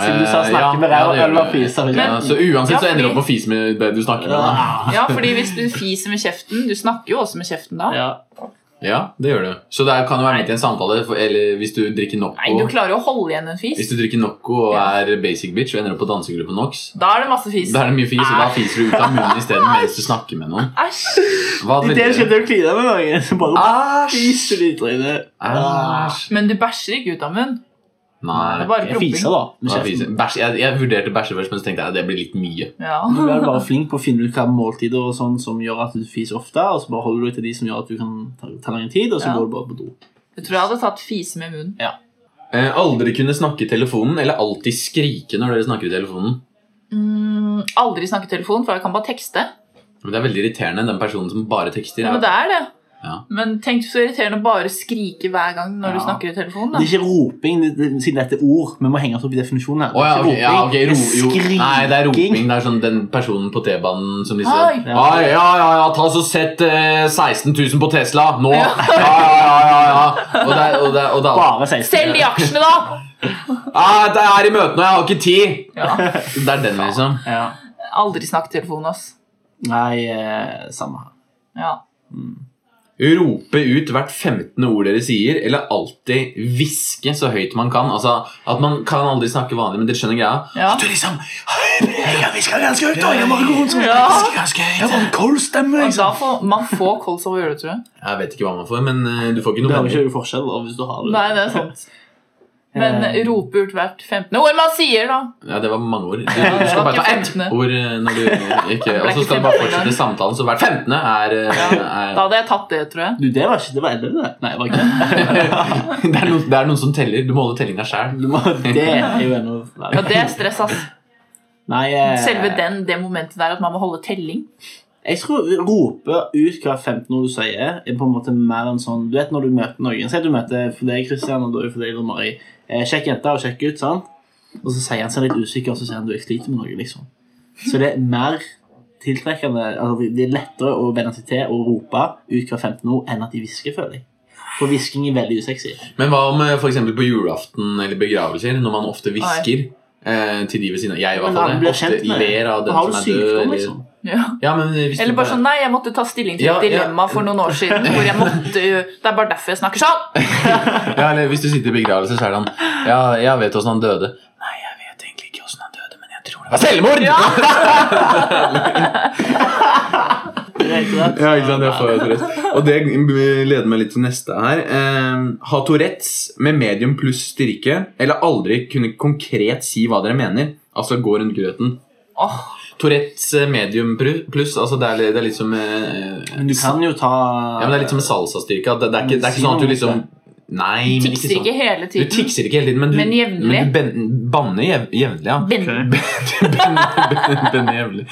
Speaker 2: Siden du sa
Speaker 1: Eh,
Speaker 2: snakke med ræva
Speaker 1: det gjør
Speaker 2: eller
Speaker 1: det.
Speaker 2: fise, eller?
Speaker 1: ja, Så uansett
Speaker 3: Ja,
Speaker 1: så ender du
Speaker 3: fordi-
Speaker 1: opp med å fise med det du snakker med. Da.
Speaker 2: Ja.
Speaker 3: ja, fordi hvis du fiser med kjeften Du snakker jo også med kjeften da.
Speaker 2: Ja.
Speaker 1: Ja, det gjør du. Så det kan jo være midt i en samtale, for, eller hvis du drikker
Speaker 3: Nei, du
Speaker 1: Nocco.
Speaker 3: klarer jo å holde igjen en
Speaker 1: Hvis
Speaker 3: fis.
Speaker 1: du drikker Nocco og
Speaker 3: Ja.
Speaker 1: er basic bitch og ender opp på dansegruppen Nox,
Speaker 3: Da er det masse fis.
Speaker 1: da er det mye fis, og da fiser du ut av munnen isteden mens du snakker med noen.
Speaker 3: Æsj.
Speaker 1: Hva
Speaker 2: I det skal
Speaker 1: velger du?
Speaker 2: du kline med noen Så bare
Speaker 1: Æsj!
Speaker 2: fiser du i trynet Ja.
Speaker 1: Æsj.
Speaker 3: Men du bæsjer ikke ut av munnen. Det er
Speaker 1: Nei.
Speaker 3: bare
Speaker 2: Jeg fiser
Speaker 3: promping.
Speaker 2: da med
Speaker 1: Hva
Speaker 2: kjeften
Speaker 1: fiser? Bæsj. Jeg, jeg vurderte bæsje først, men så tenkte jeg at det blir litt mye.
Speaker 3: Ja.
Speaker 2: Du er bare flink på å finne ut hva måltider og sånn som gjør at du fiser ofte, og så bare holder du deg til de som gjør at du kan ta, ta lang tid, og så
Speaker 3: Ja.
Speaker 2: går du bare på do.
Speaker 3: Jeg tror jeg hadde tatt fise med munnen.
Speaker 1: Eh, aldri kunne snakke i telefonen, eller alltid skrike når dere snakker i telefonen.
Speaker 3: Mm, aldri snakke i telefon, for jeg kan bare tekste.
Speaker 1: Men Det er veldig irriterende, den personen som bare tekster.
Speaker 3: Ja, men det er det.
Speaker 1: Ja.
Speaker 3: Men tenk så irriterende å bare skrike hver gang når du
Speaker 2: Ja.
Speaker 3: snakker i telefonen.
Speaker 2: Det
Speaker 3: Da.
Speaker 2: er ikke roping, det, det, siden dette er ord. Vi må henge oss opp i definisjonen her.
Speaker 1: Å ja, ok,
Speaker 2: Det
Speaker 1: ja, ok,
Speaker 2: er
Speaker 1: ro,
Speaker 2: ikke
Speaker 1: jo.
Speaker 2: roping, det
Speaker 1: Nei, det er
Speaker 2: er
Speaker 1: roping.
Speaker 2: skriking.
Speaker 1: Det er sånn den personen på T-banen som liksom
Speaker 3: Oi.
Speaker 1: Ja, ja, ja, ja, ta så sett eh, 16 000 på Tesla nå! Ja,
Speaker 3: Ja.
Speaker 1: ja, ja, ja, ja. Og det er, og det er, og det er
Speaker 2: Bare 16.
Speaker 3: Selg de aksjene, da!
Speaker 1: ah, det er i møte nå, jeg har ikke tid!
Speaker 3: Ja.
Speaker 1: Det er den, liksom.
Speaker 2: Ja.
Speaker 3: Aldri snakk i telefonen, ass.
Speaker 2: Nei, eh, samme her.
Speaker 3: Ja.
Speaker 1: Rope ut hvert 15. ord dere sier, eller alltid hviske så høyt man kan. Altså, at Man kan aldri snakke vanlig, men dere skjønner greia.
Speaker 3: Ja.
Speaker 1: At du liksom
Speaker 2: Ja, vi skal ganske høyt, da! Jeg bare går rundt sånn.
Speaker 3: Ja.
Speaker 1: hvisker ganske høyt.
Speaker 2: Jeg bare kolstemmer,
Speaker 3: Og da
Speaker 2: liksom.
Speaker 3: får, man får kols av å gjøre det, tror jeg.
Speaker 1: Jeg vet ikke hva man får, men eh, du får ikke
Speaker 2: Det
Speaker 1: noe
Speaker 2: er jo
Speaker 1: penger.
Speaker 2: ikke forskjell da, hvis du har det.
Speaker 3: Nei, det er sant. Men
Speaker 2: Eh,
Speaker 3: rope ut hvert 15. ord man sier, da.
Speaker 1: Ja, det var mange ord. Du, du skal bare ta ett
Speaker 3: Ikke 15.
Speaker 1: ord eh, når du ikke Og så skal du bare fortsette samtalen, så hvert 15. er, eh,
Speaker 3: Da hadde jeg tatt det, tror jeg.
Speaker 2: Du, det var ikke Det var elleve, det. Nei, det var ikke det.
Speaker 1: er det, er noen, det er noen som teller. Du må holde tellinga sjæl.
Speaker 2: Du må, det er jo ennå
Speaker 3: Ja, det er stress, ass.
Speaker 2: Nei, eh,
Speaker 3: Selve den, det momentet der at man må holde telling.
Speaker 2: Jeg tror rope ut hver 15 ord du sier, er på en måte mer en sånn Du vet når du møter noen Si at du møter for deg, Christian, og da er det for deg, Mari. Eh, kjekk jente og kjekk gutt, sant? Og så sier han seg litt usikker, og så sier han du, jeg sliter med noe, liksom. Så det er mer tiltrekkende altså Det er lettere å venne seg til å rope ut hver 15 ord enn at de hvisker, føler jeg. For hvisking er veldig usexy.
Speaker 1: Men hva om f.eks. på julaften eller begravelser, når man ofte hvisker eh, til de ved siden av Jeg i hvert
Speaker 2: Men da
Speaker 1: fall det.
Speaker 2: blir du kjent
Speaker 1: Ofte
Speaker 2: med det.
Speaker 1: ler av
Speaker 2: Da
Speaker 1: den
Speaker 2: har du
Speaker 1: som er død.
Speaker 2: sykdom,
Speaker 1: eller-
Speaker 2: liksom.
Speaker 3: Ja.
Speaker 1: Ja, men hvis du
Speaker 3: Eller bare
Speaker 1: bare-
Speaker 3: sånn Nei, jeg måtte ta stilling til
Speaker 1: Ja,
Speaker 3: et
Speaker 1: ja.
Speaker 3: dilemma for noen år siden. Hvor jeg måtte jo Det er bare derfor jeg snakker sånn!
Speaker 1: Ja, eller hvis du sitter i begravelse, så er det han Ja, jeg vet åssen han døde. Nei, jeg vet egentlig ikke åssen han døde, men jeg tror det var selvmord!
Speaker 3: Ja.
Speaker 1: Ja, ikke sant, jeg får jo Tourettes. Og det leder meg litt til neste her. Eh, ha Tourettes med medium pluss styrke, eller aldri kunne konkret si hva dere mener. Altså gå rundt grøten.
Speaker 3: Åh,
Speaker 1: Tourettes eh, medium pru- pluss, altså det er, li- det er litt som eh,
Speaker 2: Men du kan jo ta
Speaker 1: Ja, men det er litt som en salsastyrke. at Det, det, er ikke- det er ikke sånn at du liksom Nei, men ikke
Speaker 3: tikser ikke
Speaker 1: sånn.
Speaker 3: hele
Speaker 1: Du
Speaker 3: tiden.
Speaker 1: tikser ikke hele tiden, men du,
Speaker 3: Men jevnlig.
Speaker 1: men du ben- banner jev- jevnlig. ja
Speaker 3: Ben-
Speaker 2: Ok.
Speaker 1: Denne jævlig.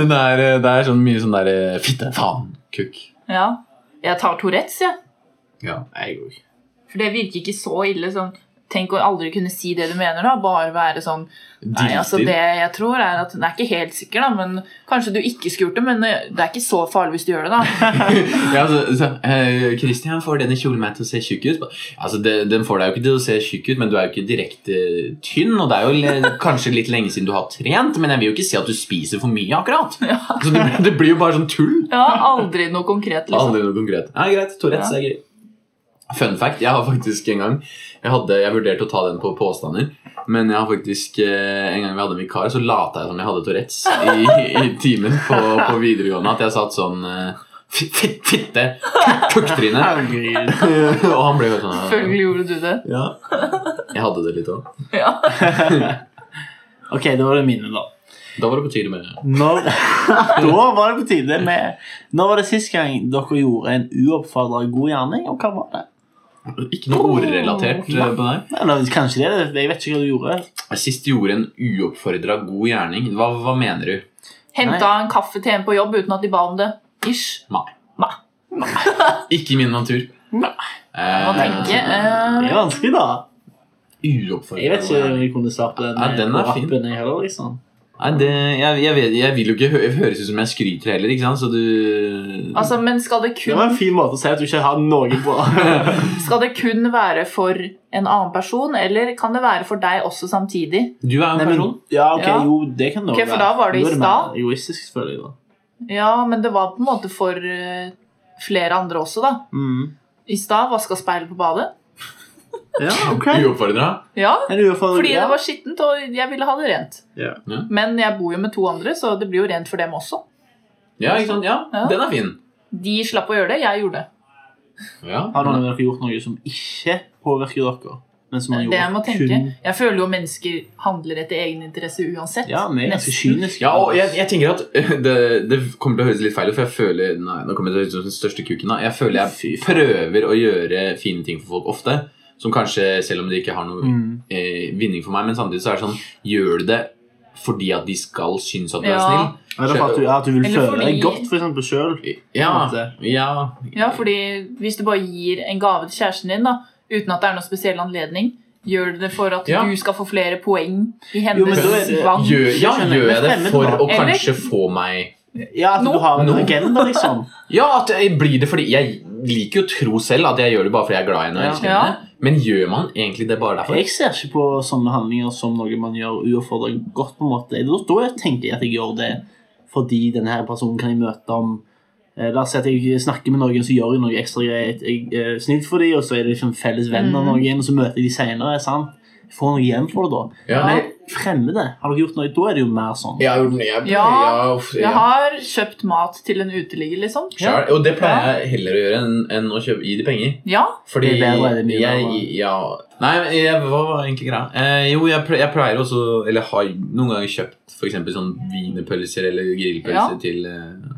Speaker 1: Men det er, det er sånn mye sånn der eh, Fitte, faen, kukk.
Speaker 3: Ja. Jeg tar Tourettes, jeg.
Speaker 1: Ja.
Speaker 2: Jeg òg.
Speaker 3: For det virker ikke så ille. Sånn. Tenk å aldri kunne si det du mener, da. Bare være sånn Nei, altså det jeg tror er at Den er ikke helt sikker, da, men kanskje du ikke skulle gjort det. Men eh, det er ikke så farlig hvis du gjør det, da.
Speaker 1: ja, altså, så, eh, Christian får denne kjolen meg til å se tjukk ut. Altså, det, Den får deg jo ikke til å se tjukk ut, men du er jo ikke direkte tynn. Og det er jo le- kanskje litt lenge siden du har trent, men jeg vil jo ikke si at du spiser for mye, akkurat. Så det, det blir jo bare sånn tull.
Speaker 3: Ja, Aldri noe konkret, liksom.
Speaker 1: Aldri noe konkret. Nei, greit. Tourettes er gøy. Fun fact. Jeg har faktisk en gang Jeg, hadde, jeg vurderte å ta den på påstander, men jeg har faktisk eh, en gang vi hadde en vikar, så lata jeg som jeg hadde Tourettes i, i timen på, på videregående. At jeg satt sånn eh, fit- fit- Fitte! Kukktryne!
Speaker 2: Herregud.
Speaker 1: Og han ble jo sånn
Speaker 3: Selvfølgelig gjorde du det.
Speaker 1: Ja. Jeg hadde det litt òg.
Speaker 3: Ja.
Speaker 2: Ok, det var det mine, da.
Speaker 1: Da var det på tide med
Speaker 2: Når, da var det på tide med Når var det sist gang dere gjorde en uoppfordra god gjerning, og hva var det?
Speaker 1: Ikke noe ordrelatert eh,
Speaker 3: Oh.
Speaker 1: på deg.
Speaker 2: Eller kanskje det, jeg vet ikke hva du gjorde.
Speaker 1: Jeg sist gjorde en uoppfordra god gjerning. Hva, hva mener du?
Speaker 3: Henta en kaffe til en på jobb uten at de ba om det. Ish.
Speaker 1: Nei.
Speaker 3: Nei.
Speaker 1: Ikke i min natur.
Speaker 2: Nei.
Speaker 1: Eh,
Speaker 3: Hva tenker
Speaker 2: Det er
Speaker 3: eh,
Speaker 2: vanskelig, da.
Speaker 1: Uoppfordret.
Speaker 2: Jeg vet ikke om jeg kunne svart på den,
Speaker 1: Ja, den er
Speaker 2: på
Speaker 1: fin.
Speaker 2: rappen jeg heller, liksom.
Speaker 1: Nei, det, jeg, jeg, vet, jeg vil jo ikke hø høres ut som jeg skryter heller, ikke sant? Så du
Speaker 3: Altså, men skal det,
Speaker 2: Det var
Speaker 3: kun,
Speaker 2: en fin måte å si at du ikke har noe på.
Speaker 3: skal det kun være for en annen person, eller kan det være for deg også samtidig?
Speaker 1: Du er jo en
Speaker 2: Nei, men,
Speaker 1: person.
Speaker 2: ja, ok,
Speaker 3: Ja.
Speaker 2: jo, det kan det
Speaker 3: Ok,
Speaker 2: også
Speaker 3: for da var det i
Speaker 2: Da er
Speaker 3: stad.
Speaker 2: mer Egoistisk, føler jeg, da.
Speaker 3: Ja, men det var på en måte for eh, flere andre også, da.
Speaker 2: Mm.
Speaker 3: I stad vaska speilet på badet.
Speaker 2: Ja, ok.
Speaker 1: Uoppfordra.
Speaker 3: Ja,
Speaker 2: En uoppfordret-
Speaker 3: fordi det
Speaker 2: ja.
Speaker 3: var skittent, og jeg ville ha det rent.
Speaker 2: Ja.
Speaker 3: Men jeg bor jo med to andre, så det blir jo rent for dem også.
Speaker 1: Ja, ikke sant? Ja,
Speaker 3: Ja.
Speaker 1: den er fin.
Speaker 3: De slapp å gjøre det, jeg gjorde det.
Speaker 1: Ja.
Speaker 2: Har noen av dere gjort noe som ikke påvirker dere? Men som har
Speaker 3: Det
Speaker 2: gjort
Speaker 3: jeg må tenke.
Speaker 2: kun-
Speaker 3: Jeg føler jo mennesker handler etter egen interesse uansett.
Speaker 2: Ja, vi er ganske
Speaker 3: Nesten.
Speaker 2: kyniske.
Speaker 1: Ja, og jeg, jeg tenker at eh, det, det kommer til å høres litt feil ut, for jeg føler Nei, nå kommer det til å høres ut som den største kuken. Da. Jeg føler jeg prøver å gjøre fine ting for folk ofte, som kanskje, selv om de ikke har noe
Speaker 2: Mm.
Speaker 1: eh, vinning for meg, men samtidig så er det sånn Gjør du det fordi at de skal synes at du er
Speaker 3: Ja.
Speaker 1: snill?
Speaker 2: Er det for at du, ja, at du vil
Speaker 3: Eller
Speaker 2: føle deg
Speaker 3: fordi-
Speaker 2: godt for eksempel selv?
Speaker 1: Ja,
Speaker 2: På en måte.
Speaker 1: ja,
Speaker 3: Ja, fordi hvis du bare gir en gave til kjæresten din da, uten at det er noen spesiell anledning, gjør du det for at
Speaker 1: Ja.
Speaker 3: du skal få flere poeng i hennes
Speaker 2: Jo, men da er det-
Speaker 3: vang?
Speaker 1: gjør, ja,
Speaker 2: Skjønner.
Speaker 1: gjør jeg det
Speaker 2: Men
Speaker 1: for å
Speaker 2: fremmed,
Speaker 3: da.
Speaker 1: kanskje få meg
Speaker 2: Ja, at
Speaker 3: Nå.
Speaker 2: du har en
Speaker 1: Nå.
Speaker 2: agenda, liksom.
Speaker 1: Ja, at jeg blir det fordi Jeg liker jo å tro selv at jeg gjør det bare fordi jeg er glad i henne. og
Speaker 2: Ja.
Speaker 1: elsker henne. Men gjør man egentlig det bare derfor?
Speaker 2: Jeg ser ikke på sånne handlinger som noe man gjør uoppfordret godt. på en måte. Da, da tenker jeg at jeg gjør det fordi denne her personen kan jeg møte om Eh, La oss si at jeg snakker med noen, så gjør jeg noe ekstra greit. Jeg er snill for dem, og så er det liksom felles venn av
Speaker 3: Mm.
Speaker 2: noen, og så møter jeg dem senere. sant? Jeg får noe igjen for det da.
Speaker 4: Ja.
Speaker 2: Men fremmede, har dere gjort noe? Da er det jo mer sånn.
Speaker 4: Jeg har gjort det. Jeg,
Speaker 3: Ja,
Speaker 4: jeg- uff,
Speaker 3: Jeg har kjøpt mat til en uteligger, liksom.
Speaker 4: Sjæl. Og det pleier
Speaker 3: Ja.
Speaker 4: jeg heller å gjøre enn, enn å kjøpe, gi de penger.
Speaker 3: Ja,
Speaker 4: Fordi
Speaker 2: Det er bedre, det er mye
Speaker 4: jeg,
Speaker 2: bedre.
Speaker 4: ja.
Speaker 1: Nei, men jeg, hva var egentlig greia? Eh, jo, jeg, ple- jeg pleier også Eller har noen ganger kjøpt for eksempel sånn wienerpølser eller grillpølser
Speaker 3: Ja.
Speaker 1: til eh,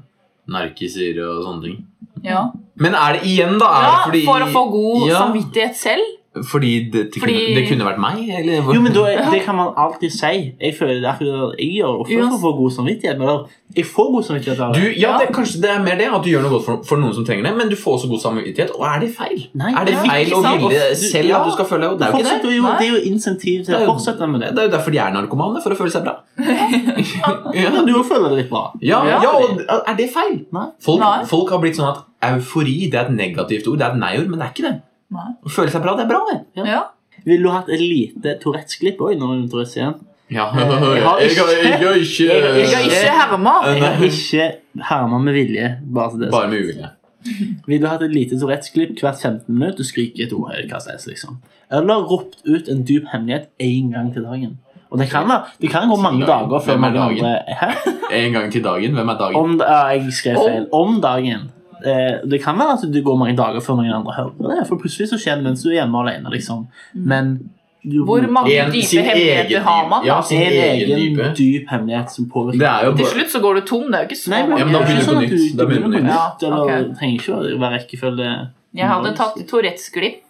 Speaker 1: narkiser og sånne ting.
Speaker 3: ja.
Speaker 1: Men er det igjen, da? Er
Speaker 3: ja
Speaker 1: det fordi,
Speaker 3: For å få god
Speaker 1: Ja.
Speaker 3: samvittighet selv.
Speaker 1: Fordi, det, det,
Speaker 3: Fordi-
Speaker 1: Kunne, det kunne vært meg? Eller? hvor-
Speaker 2: Jo, men da, det kan man alltid si. Jeg føler det er akkurat det jeg gjør. Og først for å få god samvittighet. Men da, jeg får god samvittighet av
Speaker 1: du,
Speaker 2: det.
Speaker 1: ja,
Speaker 3: Ja.
Speaker 1: det, kanskje det er mer det at du gjør noe godt for, for noen som trenger det, men du får også god samvittighet. Og er det feil?
Speaker 2: Nei,
Speaker 1: Er det
Speaker 2: ja,
Speaker 1: feil
Speaker 2: ikke
Speaker 1: å
Speaker 2: sant?
Speaker 1: ville
Speaker 2: Og-
Speaker 1: selv
Speaker 2: ja.
Speaker 1: at du skal føle deg god? Det er jo
Speaker 2: Fortsett
Speaker 1: ikke det.
Speaker 2: å gjøre-
Speaker 3: Nei.
Speaker 2: Det er jo insentiv til
Speaker 1: Det er
Speaker 2: å
Speaker 1: jo-
Speaker 2: fortsette med
Speaker 1: Det
Speaker 2: det.
Speaker 1: er jo derfor de er narkomane, for å føle seg bra.
Speaker 2: Ja,
Speaker 1: ja.
Speaker 2: men du må føle det litt bra.
Speaker 1: Ja,
Speaker 3: Ja.
Speaker 1: ja, og er det feil?
Speaker 2: Nei.
Speaker 1: Folk,
Speaker 3: Nei.
Speaker 1: folk har blitt sånn at eufori det er et negativt ord. Det er et nei-ord, men det er ikke det.
Speaker 3: Nei.
Speaker 1: Å føle seg bra, det er bra, det.
Speaker 2: Ja.
Speaker 3: Ja.
Speaker 2: Ville du hatt et lite Tourettes-klipp òg?
Speaker 1: Ja.
Speaker 2: Jeg har ikke-
Speaker 1: har
Speaker 2: Jeg
Speaker 1: Eh,
Speaker 3: Jeg har ikke herma.
Speaker 2: Jeg har ikke herma med vilje. Bare til det.
Speaker 1: Bare med uvilje.
Speaker 2: Ville du hatt et lite Tourettes-klipp hvert 15 minutt og skrike et ord? eller hva som helst, liksom? Eller ropt ut en dyp hemmelighet én gang til dagen? Og det kan, være- det kan gå mange
Speaker 1: Dagen.
Speaker 2: dager før
Speaker 1: Hvem er
Speaker 2: mange
Speaker 1: dagen?
Speaker 2: andre Hæ?
Speaker 1: En gang til dagen. Hvem er dagen?
Speaker 2: Om, ja, jeg skrev feil. Om dagen. Eh, det kan være at du går mange dager før noen andre hører det. For plutselig så skjer det mens du er hjemme alene. Liksom. Men du,
Speaker 3: Mm. Hvor mange
Speaker 1: En- sin
Speaker 3: dype
Speaker 1: egen
Speaker 3: hemmeligheter har man?
Speaker 1: dype. Ja,
Speaker 3: da?
Speaker 1: sin
Speaker 2: en
Speaker 1: egen
Speaker 2: egen
Speaker 1: dype.
Speaker 2: dyp hemmelighet som påvirker
Speaker 1: Det er jo
Speaker 3: Til
Speaker 1: bare
Speaker 3: slutt så går du tom. Det er jo ikke så
Speaker 2: Nei, men,
Speaker 1: Ja,
Speaker 3: mange.
Speaker 1: men da
Speaker 2: det er
Speaker 1: begynner
Speaker 2: ikke sånn
Speaker 1: du på
Speaker 2: at
Speaker 1: nytt. Da begynner du på
Speaker 2: begynner på nytt,
Speaker 3: nytt. Ja,
Speaker 2: Eller trenger ikke å være rekkefølge.
Speaker 3: Jeg hadde tatt Tourettes glipp,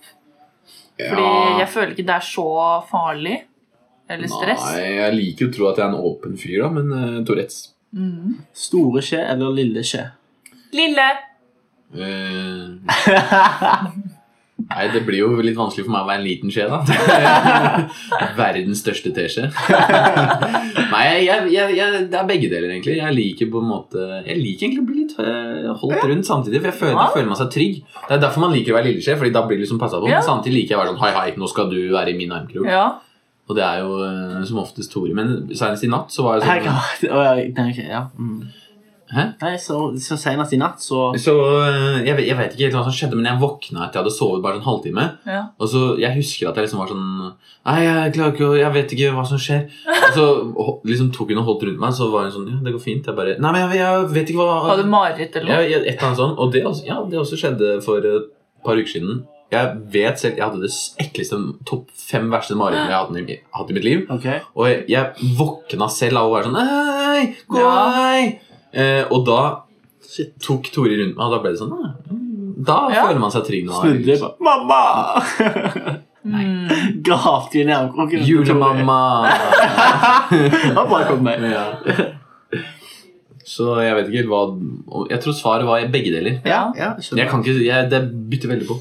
Speaker 3: fordi
Speaker 1: Ja.
Speaker 3: jeg føler ikke det er så farlig. Eller stress.
Speaker 1: Nei, jeg liker jo å tro at jeg er en åpen fyr, da, men uh, Tourettes
Speaker 3: Mhm.
Speaker 2: Store skje eller lille skje?
Speaker 3: Lille.
Speaker 1: Eh, Nei, det blir jo litt vanskelig for meg å være en liten skje, da. Verdens største teskje. Nei, jeg, jeg, jeg, det er begge deler, egentlig. Jeg liker på en måte Jeg liker egentlig å bli litt eh, holdt rundt samtidig, for jeg føler,
Speaker 3: Ja.
Speaker 1: føler man seg trygg. Det er derfor man liker å være lille skje, Fordi da blir det liksom passa på.
Speaker 3: Ja.
Speaker 1: Men samtidig liker jeg å være sånn hei, hei, nå skal du være i min armkrok.
Speaker 3: Ja.
Speaker 1: Og det er jo eh, som oftest Tore. Men senest i natt så var jeg
Speaker 2: Her
Speaker 1: sånn
Speaker 2: kan- Å, ja, nei, ok, ja. Mm.
Speaker 1: Hæ?
Speaker 2: Nei, så, så senest i natt, så
Speaker 1: Så eh, jeg, vet- jeg vet ikke helt hva som skjedde, men jeg våkna etter jeg hadde sovet bare sånn halvtime.
Speaker 3: ja.
Speaker 1: Og så, Jeg husker at jeg liksom var sånn Nei, jeg klarer ikke å Jeg vet ikke hva som skjer. Og så ho- liksom tok hun og holdt rundt meg, så var hun sånn Ja, det går fint. Jeg bare Nei, men jeg, jeg vet ikke hva
Speaker 3: Hadde mareritt eller
Speaker 1: ja,
Speaker 3: noe?
Speaker 1: ja, Et eller annet sånn. Og det også, ja, det også skjedde for et par uker siden. Jeg vet selv Jeg hadde det ekleste topp fem verste marerittene jeg hadde i- hatt i mitt liv.
Speaker 2: Ok.
Speaker 1: Og jeg, jeg våkna selv av å være sånn Hei, gå
Speaker 3: Ja.
Speaker 1: vei! Eh, og da
Speaker 2: Shit.
Speaker 1: tok Tore rundt meg, og da ble det sånn «Ah, mm, Da
Speaker 3: Ja.
Speaker 1: føler man seg trygg. når man er
Speaker 2: Snudde jeg
Speaker 1: ute.
Speaker 2: bare Mamma!
Speaker 3: Mm.
Speaker 2: Gapte i nærkroken.
Speaker 1: Julemamma!
Speaker 2: Han bare kom med.
Speaker 1: Ja. Så jeg vet ikke helt hva Jeg tror svaret var i begge deler.
Speaker 2: Ja, ja, jeg skjønner.
Speaker 1: Jeg kan ikke, jeg, Det bytter veldig på.